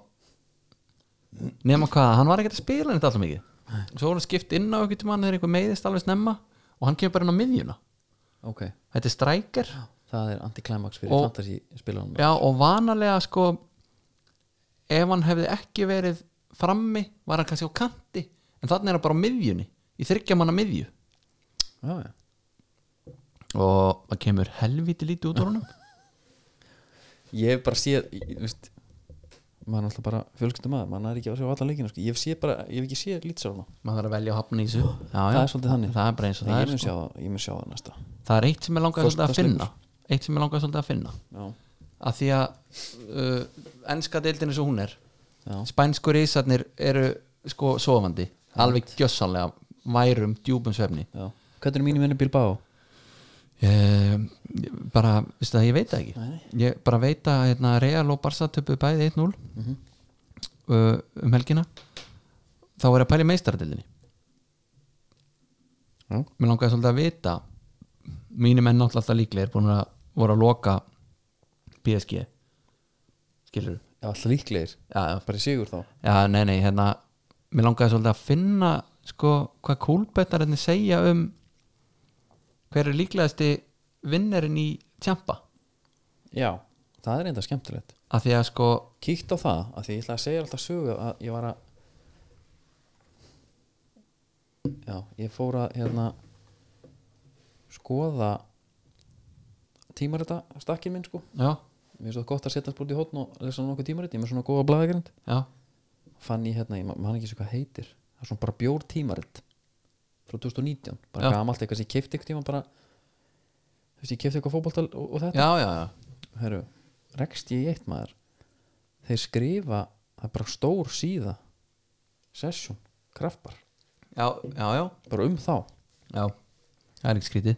S1: nema hvað, hann var ekkert að spila þetta alltaf mikið svo voru hann skipt inn á einhvern tímann þegar einhver meiðist alveg snemma og hann kemur bara inn á miðjuna
S2: ok
S1: þetta er strækir
S2: Það er antiklæmaks fyrir
S1: Og-
S2: fantasy spilarum
S1: já, og vanalega sko ef hann hefði ekki verið frammi var hann kannski á kanti en þannig er hann bara á miðjunni í þryggja manna miðju
S2: já, já.
S1: og það kemur helviti lítið út úr honum
S2: Ég hef bara séð, ég- ég veist maður er alltaf bara fjölskyldu maður, maður er ekki að sjá allan leikina sko. ég hef séð bara, ég hef ekki séð lýtsar hana
S1: maður þarf að velja að hafna í þessu já, já,
S2: það er svolítið þannig
S1: það er bara eins og
S2: Nei,
S1: það
S2: ég
S1: er
S2: mun
S1: sko.
S2: sjá það, ég mun sjá það næsta
S1: það er eitt sem er langað svolítið að finna
S2: Föstudagsleikur.
S1: eitt sem er langað svolítið að finna
S2: já,
S1: að því að uh, enska deildin eins og hún er
S2: já,
S1: spænsku reisarnir eru sko sofandi, alveg gjössanlega værum, djúpum svefni
S2: já. hvernig er mínu vinnu Bilbao?
S1: ég, bara, veistu það, ég veit það ekki
S2: Nei, nei.
S1: ég bara veit að hérna, Real og Barca töpu bæði 1-0
S2: Mhm.
S1: uh, um helgina þá er að pæli meistaradeildinni
S2: Já.
S1: mér langaði svolítið að vita mínu menn náttúrulega alltaf líklegir búin að voru að loka PSG skilur
S2: já, alltaf líklegir,
S1: já, já,
S2: bara í sigur þá
S1: Já, nei, nei, hérna Mér langaði svolítið að finna sko, hvað kúlbettar henni segja um hver er líklegasti vinnerinn í tjampa
S2: já, það er enda skemmtilegt
S1: að því að sko
S2: kíkt á það, af því ég ætla að segja alltaf sögu að ég var að já, ég fór að hérna skoða tímarita stakkin minn sko
S1: já,
S2: mér finnst það gott að setja spurt í hótn og lesa nokkuð tímarit, ég er með svona góða blæðagrind
S1: já,
S2: fann ég hérna, ég ma- man ekki svo hvað heitir það er svona bara bjór tímarit frá 2019, bara
S1: Já.
S2: gamalt eitthvað sem ég keipti eitthvað tíma bara þú veist, ég keipti eitthvað fótbolta og, og þetta
S1: já, já, já.
S2: Heru, rekst ég í eitt maður þeir skrifa, það er bara stór síða session, kraftbar
S1: Já, já, já,
S2: bara um þá
S1: já Það er ekki skrítið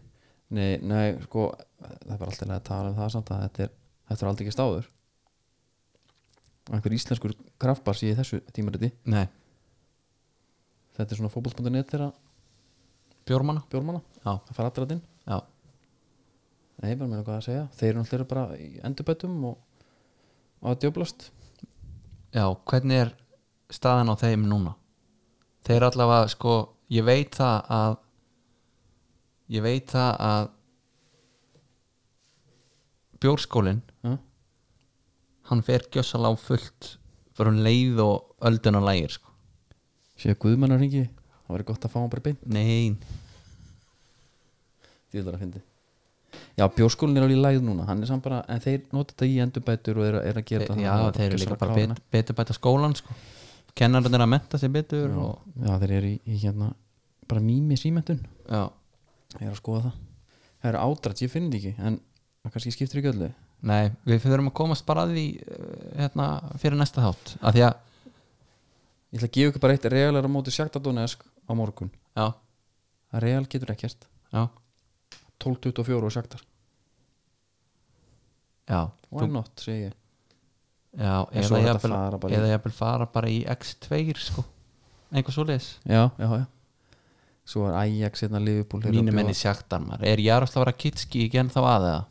S2: nei, nei, sko, það er bara alltaf að tala um það samt að þetta er, þetta er aldrei ekki stáður einhver íslenskur kraftbar sé í þessu tímariti
S1: Nei,
S2: þetta er svona fótbolt.net þeirra
S1: bjórmanna
S2: bjórmanna,
S1: Já,
S2: það fara allra þinn
S1: já,
S2: Nei, bara mér hvað að segja Þeir eru náttúrulega bara í endurbætum og, og að djöblast
S1: já, hvernig er staðan á þeim núna? Þeir allavega, sko, ég veit það að ég veit það að bjórskólinn
S2: ja?
S1: hann fer gjössalega á fullt fyrir hún leið og ölduna lægir sko.
S2: Sér Guðmannar hringi Það væri gott að fá hann bara beint
S1: nei,
S2: Því að fyndi Já, bjórskólin er alveg í læð núna Hann er samt bara, en þeir nota þetta í endurbætur og er, er að gera
S1: þeir,
S2: þetta
S1: já,
S2: þannig að
S1: þeir eru
S2: gjörsamlega
S1: líka bara
S2: klára
S1: bet, betur bæta skólan sko. kennarinn er að menta sig betur
S2: hana.
S1: og,
S2: Já, þeir eru í, í hérna bara mými símentun
S1: já,
S2: Ég er að skoða það Það eru ádrætt, ég finn þetta ekki En það kannski skiptir ekki öllu
S1: nei, við þurfum að komast bara að því eh, hérna, fyrir næsta þátt af því að,
S2: Ég ætla að gefa ykkur bara eitt Real er á móti Sjaktadónesk á morgun
S1: já,
S2: Real getur ekkert
S1: já
S2: 12.24 og Sjaktar
S1: já,
S2: Why not, segi ég
S1: já
S2: En svo
S1: eða
S2: er
S1: jafnvel
S2: þetta fara bara í-
S1: eða jafnvel fara bara í X2 sko. einhver svo leis
S2: já, já, já svo var Ajax hérna Liverpool þeir eru að
S1: mínu menni
S2: bjóða-
S1: sjaktar maður er Jaroslavara Kitski ekki enn þá aðeða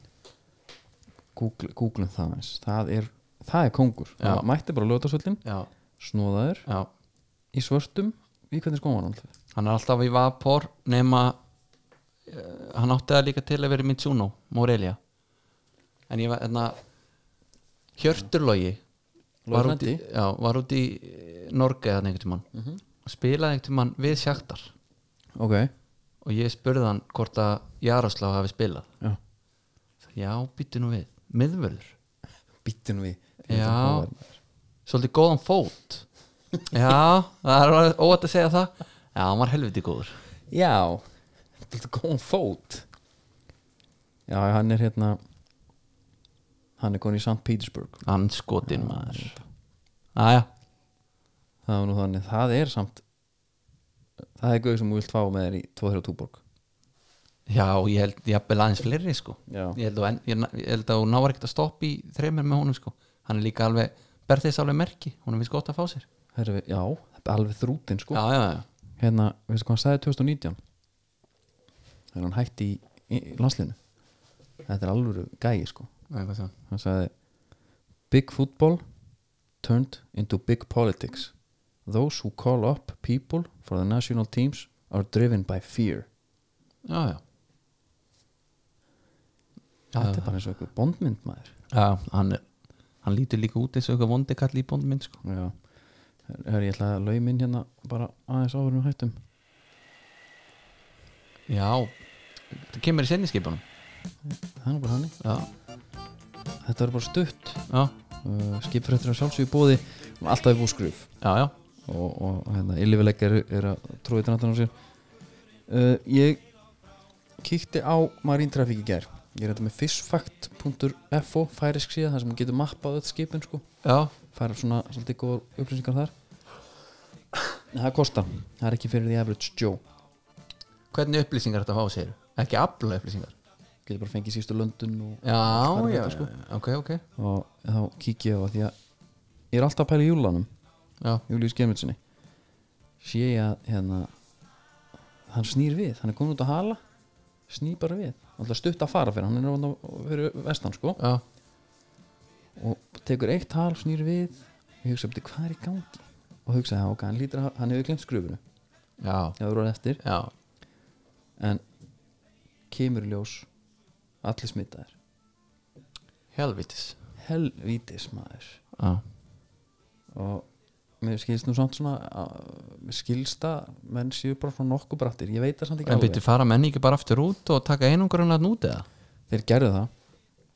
S2: Google, Google það eins það er, það er kongur
S1: Já.
S2: Það mætti bara ljótasvöldin,
S1: já,
S2: snóðaður
S1: já,
S2: í svörtum, í hvernig skóma hann alltaf
S1: hann er alltaf í Vapor nema uh, hann átti það líka til að vera í Mitsuno, Morelia en ég var hérna Hjörturlogi var
S2: Logi
S1: út í, já, var út í eh, Norge eða einhvern tímann mm -hmm. spilaði einhvern tímann við sjaktar
S2: ok,
S1: og ég spurði hann hvort að Jaroslav hafi spilað
S2: já,
S1: já, býttu nú við, miðvörður
S2: býttu nú við
S1: Já. svolítið góðan fót já, það er alveg óvægt að segja það já, hann var helviti góður
S2: já, þetta er góðan fót já, hann er hérna hann er konið í St. Petersburg
S1: hann skotin maður aðja,
S2: það er nú þannig, það er samt það er gauð sem þú vilt fá með þér í 2-3 túborg
S1: já, ég held ég hafði aðeins fleiri sko
S2: Já.
S1: ég held, að, en- ég, ég held að hún návar ekkert að stoppa í þreymir með honum sko hann er líka alveg, berðis alveg merki hún er við gott að fá sér
S2: Herri, já, þetta er alveg þrútin sko
S1: já, já, já,
S2: hérna, veistu hvað hann sagði 2019 þegar hann hætti í, í landslinu þetta er alvöru gæi sko
S1: Nei, hvað sagði hann?
S2: hann sagði big football turned into big politics those who call up people for the national teams are driven by fear
S1: já, já
S2: þetta er bara eins og eitthvað bondmynd maður
S1: Já, hann, er- hann lítur líka út eins og eitthvað vondi kall í bóndmynd sko.
S2: já, hör ég ætla að laumin hérna bara aðeins áður um hættum
S1: Já, það kemur í senniskipunum
S2: það er nú bara hannig,
S1: Já,
S2: þetta er bara stutt
S1: já,
S2: uh, skipfréttur að sjálfsögju bóði alltaf í búskruf
S1: já, já
S2: og, og hérna, illifileg er, er að tróði drantan á sér uh, ég kíkti á Marine Traffic í gær ég er þetta með fishfact.fo færisk síða þar sem hún getur mappað öll skipin sko,
S1: Já,
S2: færa svona svolítið góðar upplýsingar þar En það kostar, það er ekki fyrir því average Joe
S1: hvernig upplýsingar þetta fá sér? Ekki afla upplýsingar
S2: getur bara fengið sístu löndun og,
S1: Já,
S2: Hvar er
S1: já,
S2: þetta,
S1: já,
S2: sko?
S1: ok, ok
S2: og þá kíkja ég á það því að ég er alltaf að pæla í júlanum
S1: Já,
S2: Július Gemilsinni sé ég að hérna, hann snýr við, hann er komin út að hala snýr bara við, alltaf stutt að fara fyrir hann er ofan á fyrir vestan sko
S1: já,
S2: og tekur eitt hal, snýr við og ég hugsa, "Bíddu, hvað er í gangi? og hugsa, "Já, ok, hann lítur að, hann hefur glemt skröfunu
S1: já,
S2: eða voru eftir,
S1: já
S2: en kemur í ljós allir smitaðir,
S1: Helvitis
S2: helvítis maður
S1: Já,
S2: og mér skilst nú samt svona að- mér skilst að menn séu bara frá nokkuð brattir, ég veit það samt ekki
S1: en byrju fara menn ekki bara aftur út og taka einungurinn að nút eða?
S2: þeir gerðu það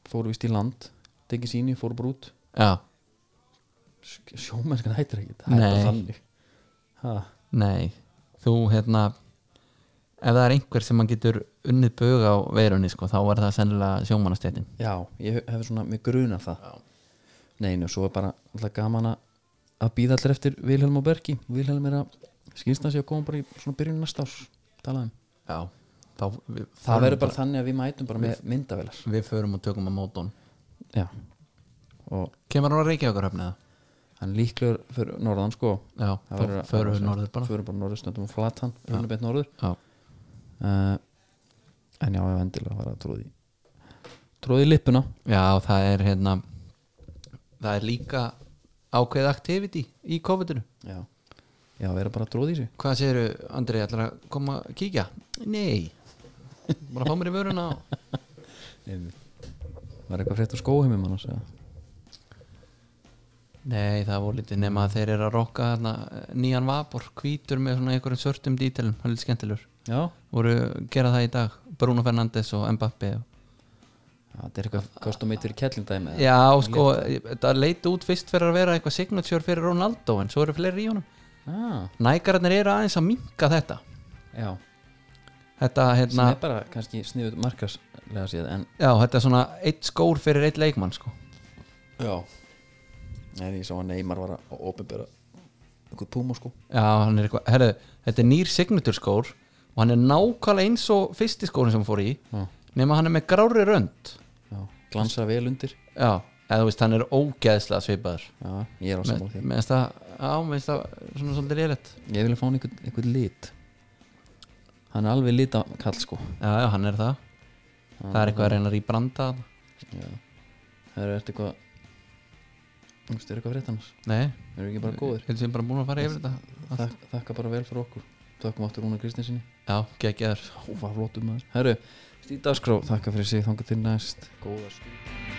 S2: fóru vist í land, tekið síni, fóru bara út
S1: Já,
S2: Sk- sjómennskan hættir ekki það er bara
S1: Nei.
S2: þannig ha,
S1: nei Þú, hérna Ef það er einhver sem mann getur unnið bög á veirunni, sko, þá var það sennilega sjómanasteitin
S2: já, ég hef- hef svona mig gruna það
S1: Já.
S2: neinu, svo er bara alltaf gaman að að býða allir eftir Vilhelm og Bergi Vilhelm er að skýrst hans ég að koma bara í svona byrjun næsta árs talaðum.
S1: Já, þá við,
S2: það verður bara þannig að við mætum bara með myndavelar
S1: Við förum og tökum að móta hún
S2: já, og
S1: Kemur hann að reykja okkur höfnið
S2: hann líklegur fyrir norðan sko
S1: Já,
S2: Það verður-
S1: förum við norður bara
S2: förum bara norður, stöndum og flatan, runum beint norður
S1: Já,
S2: uh, en já, ég vendilega var að tróði tróði lippuna
S1: Já, það er hérna það er líka ákveð activity í COVID-inu
S2: já, já vera bara að tróði í sig
S1: Hvað segiru, Andri, ætlar að koma að kíkja? Nei bara fá mér í vöruna og...
S2: var eitthvað frétt úr skóheimum annars eða?
S1: Nei, það voru lítið nema að þeir eru að rokka hérna, nýjan vapor, hvítur með svona einhverjum svörtum dítelum, hann er lítið skemmtilegur
S2: já,
S1: voru gera það í dag, Bruno Fernandes og Mbappi og...
S2: það er eitthvað kostum eitt fyrir kellindæmi eða?
S1: Já, sko, það leit út fyrst fyrir að vera eitthvað signature fyrir Ronaldo en svo eru fleiri í honum
S2: ah,
S1: Nækararnir eru aðeins að minka þetta
S2: já,
S1: Þetta,
S2: sem
S1: hérna,
S2: er bara kannski sniðut markaslega séð en
S1: já, þetta er svona eitt skór fyrir eitt leikmann, sko
S2: já, en ég sá að Neymar var að opinbera eitthvað púma sko
S1: Já, hann er eitthvað, herðu, þetta er nýr signature skór og hann er nákvæmlega eins og fyrsti skórin sem hann fór í
S2: já,
S1: nema hann er með grári rönd
S2: já, glansa vel undir
S1: Já, eða þú veist, hann er ógeðslega svipaður
S2: já, ég er á
S1: Mér
S2: sammála því
S1: mér finnst það Já, mér finnst það svona svolítið reyðilegt
S2: ég vilja fá hann einhvern, einhvern lit hann er alveg lita kall sko
S1: Já, já, hann er það Það er eitthvað að reyna að rýbranda þarna.
S2: já það er eitthvað þú veist, er eitthvað frétt annars
S1: Nei,
S2: erum við ekki bara góðir
S1: heldur sem bara búin að fara yfir þetta
S2: Þak, þakka bara vel fyrir okkur þakkum áttur Rúnar Kristinsinni
S1: Já, geggjaður
S2: hún var flottum maður herru, Stíð Dagskrá, þakka fyrir sig þanga til næst góða stund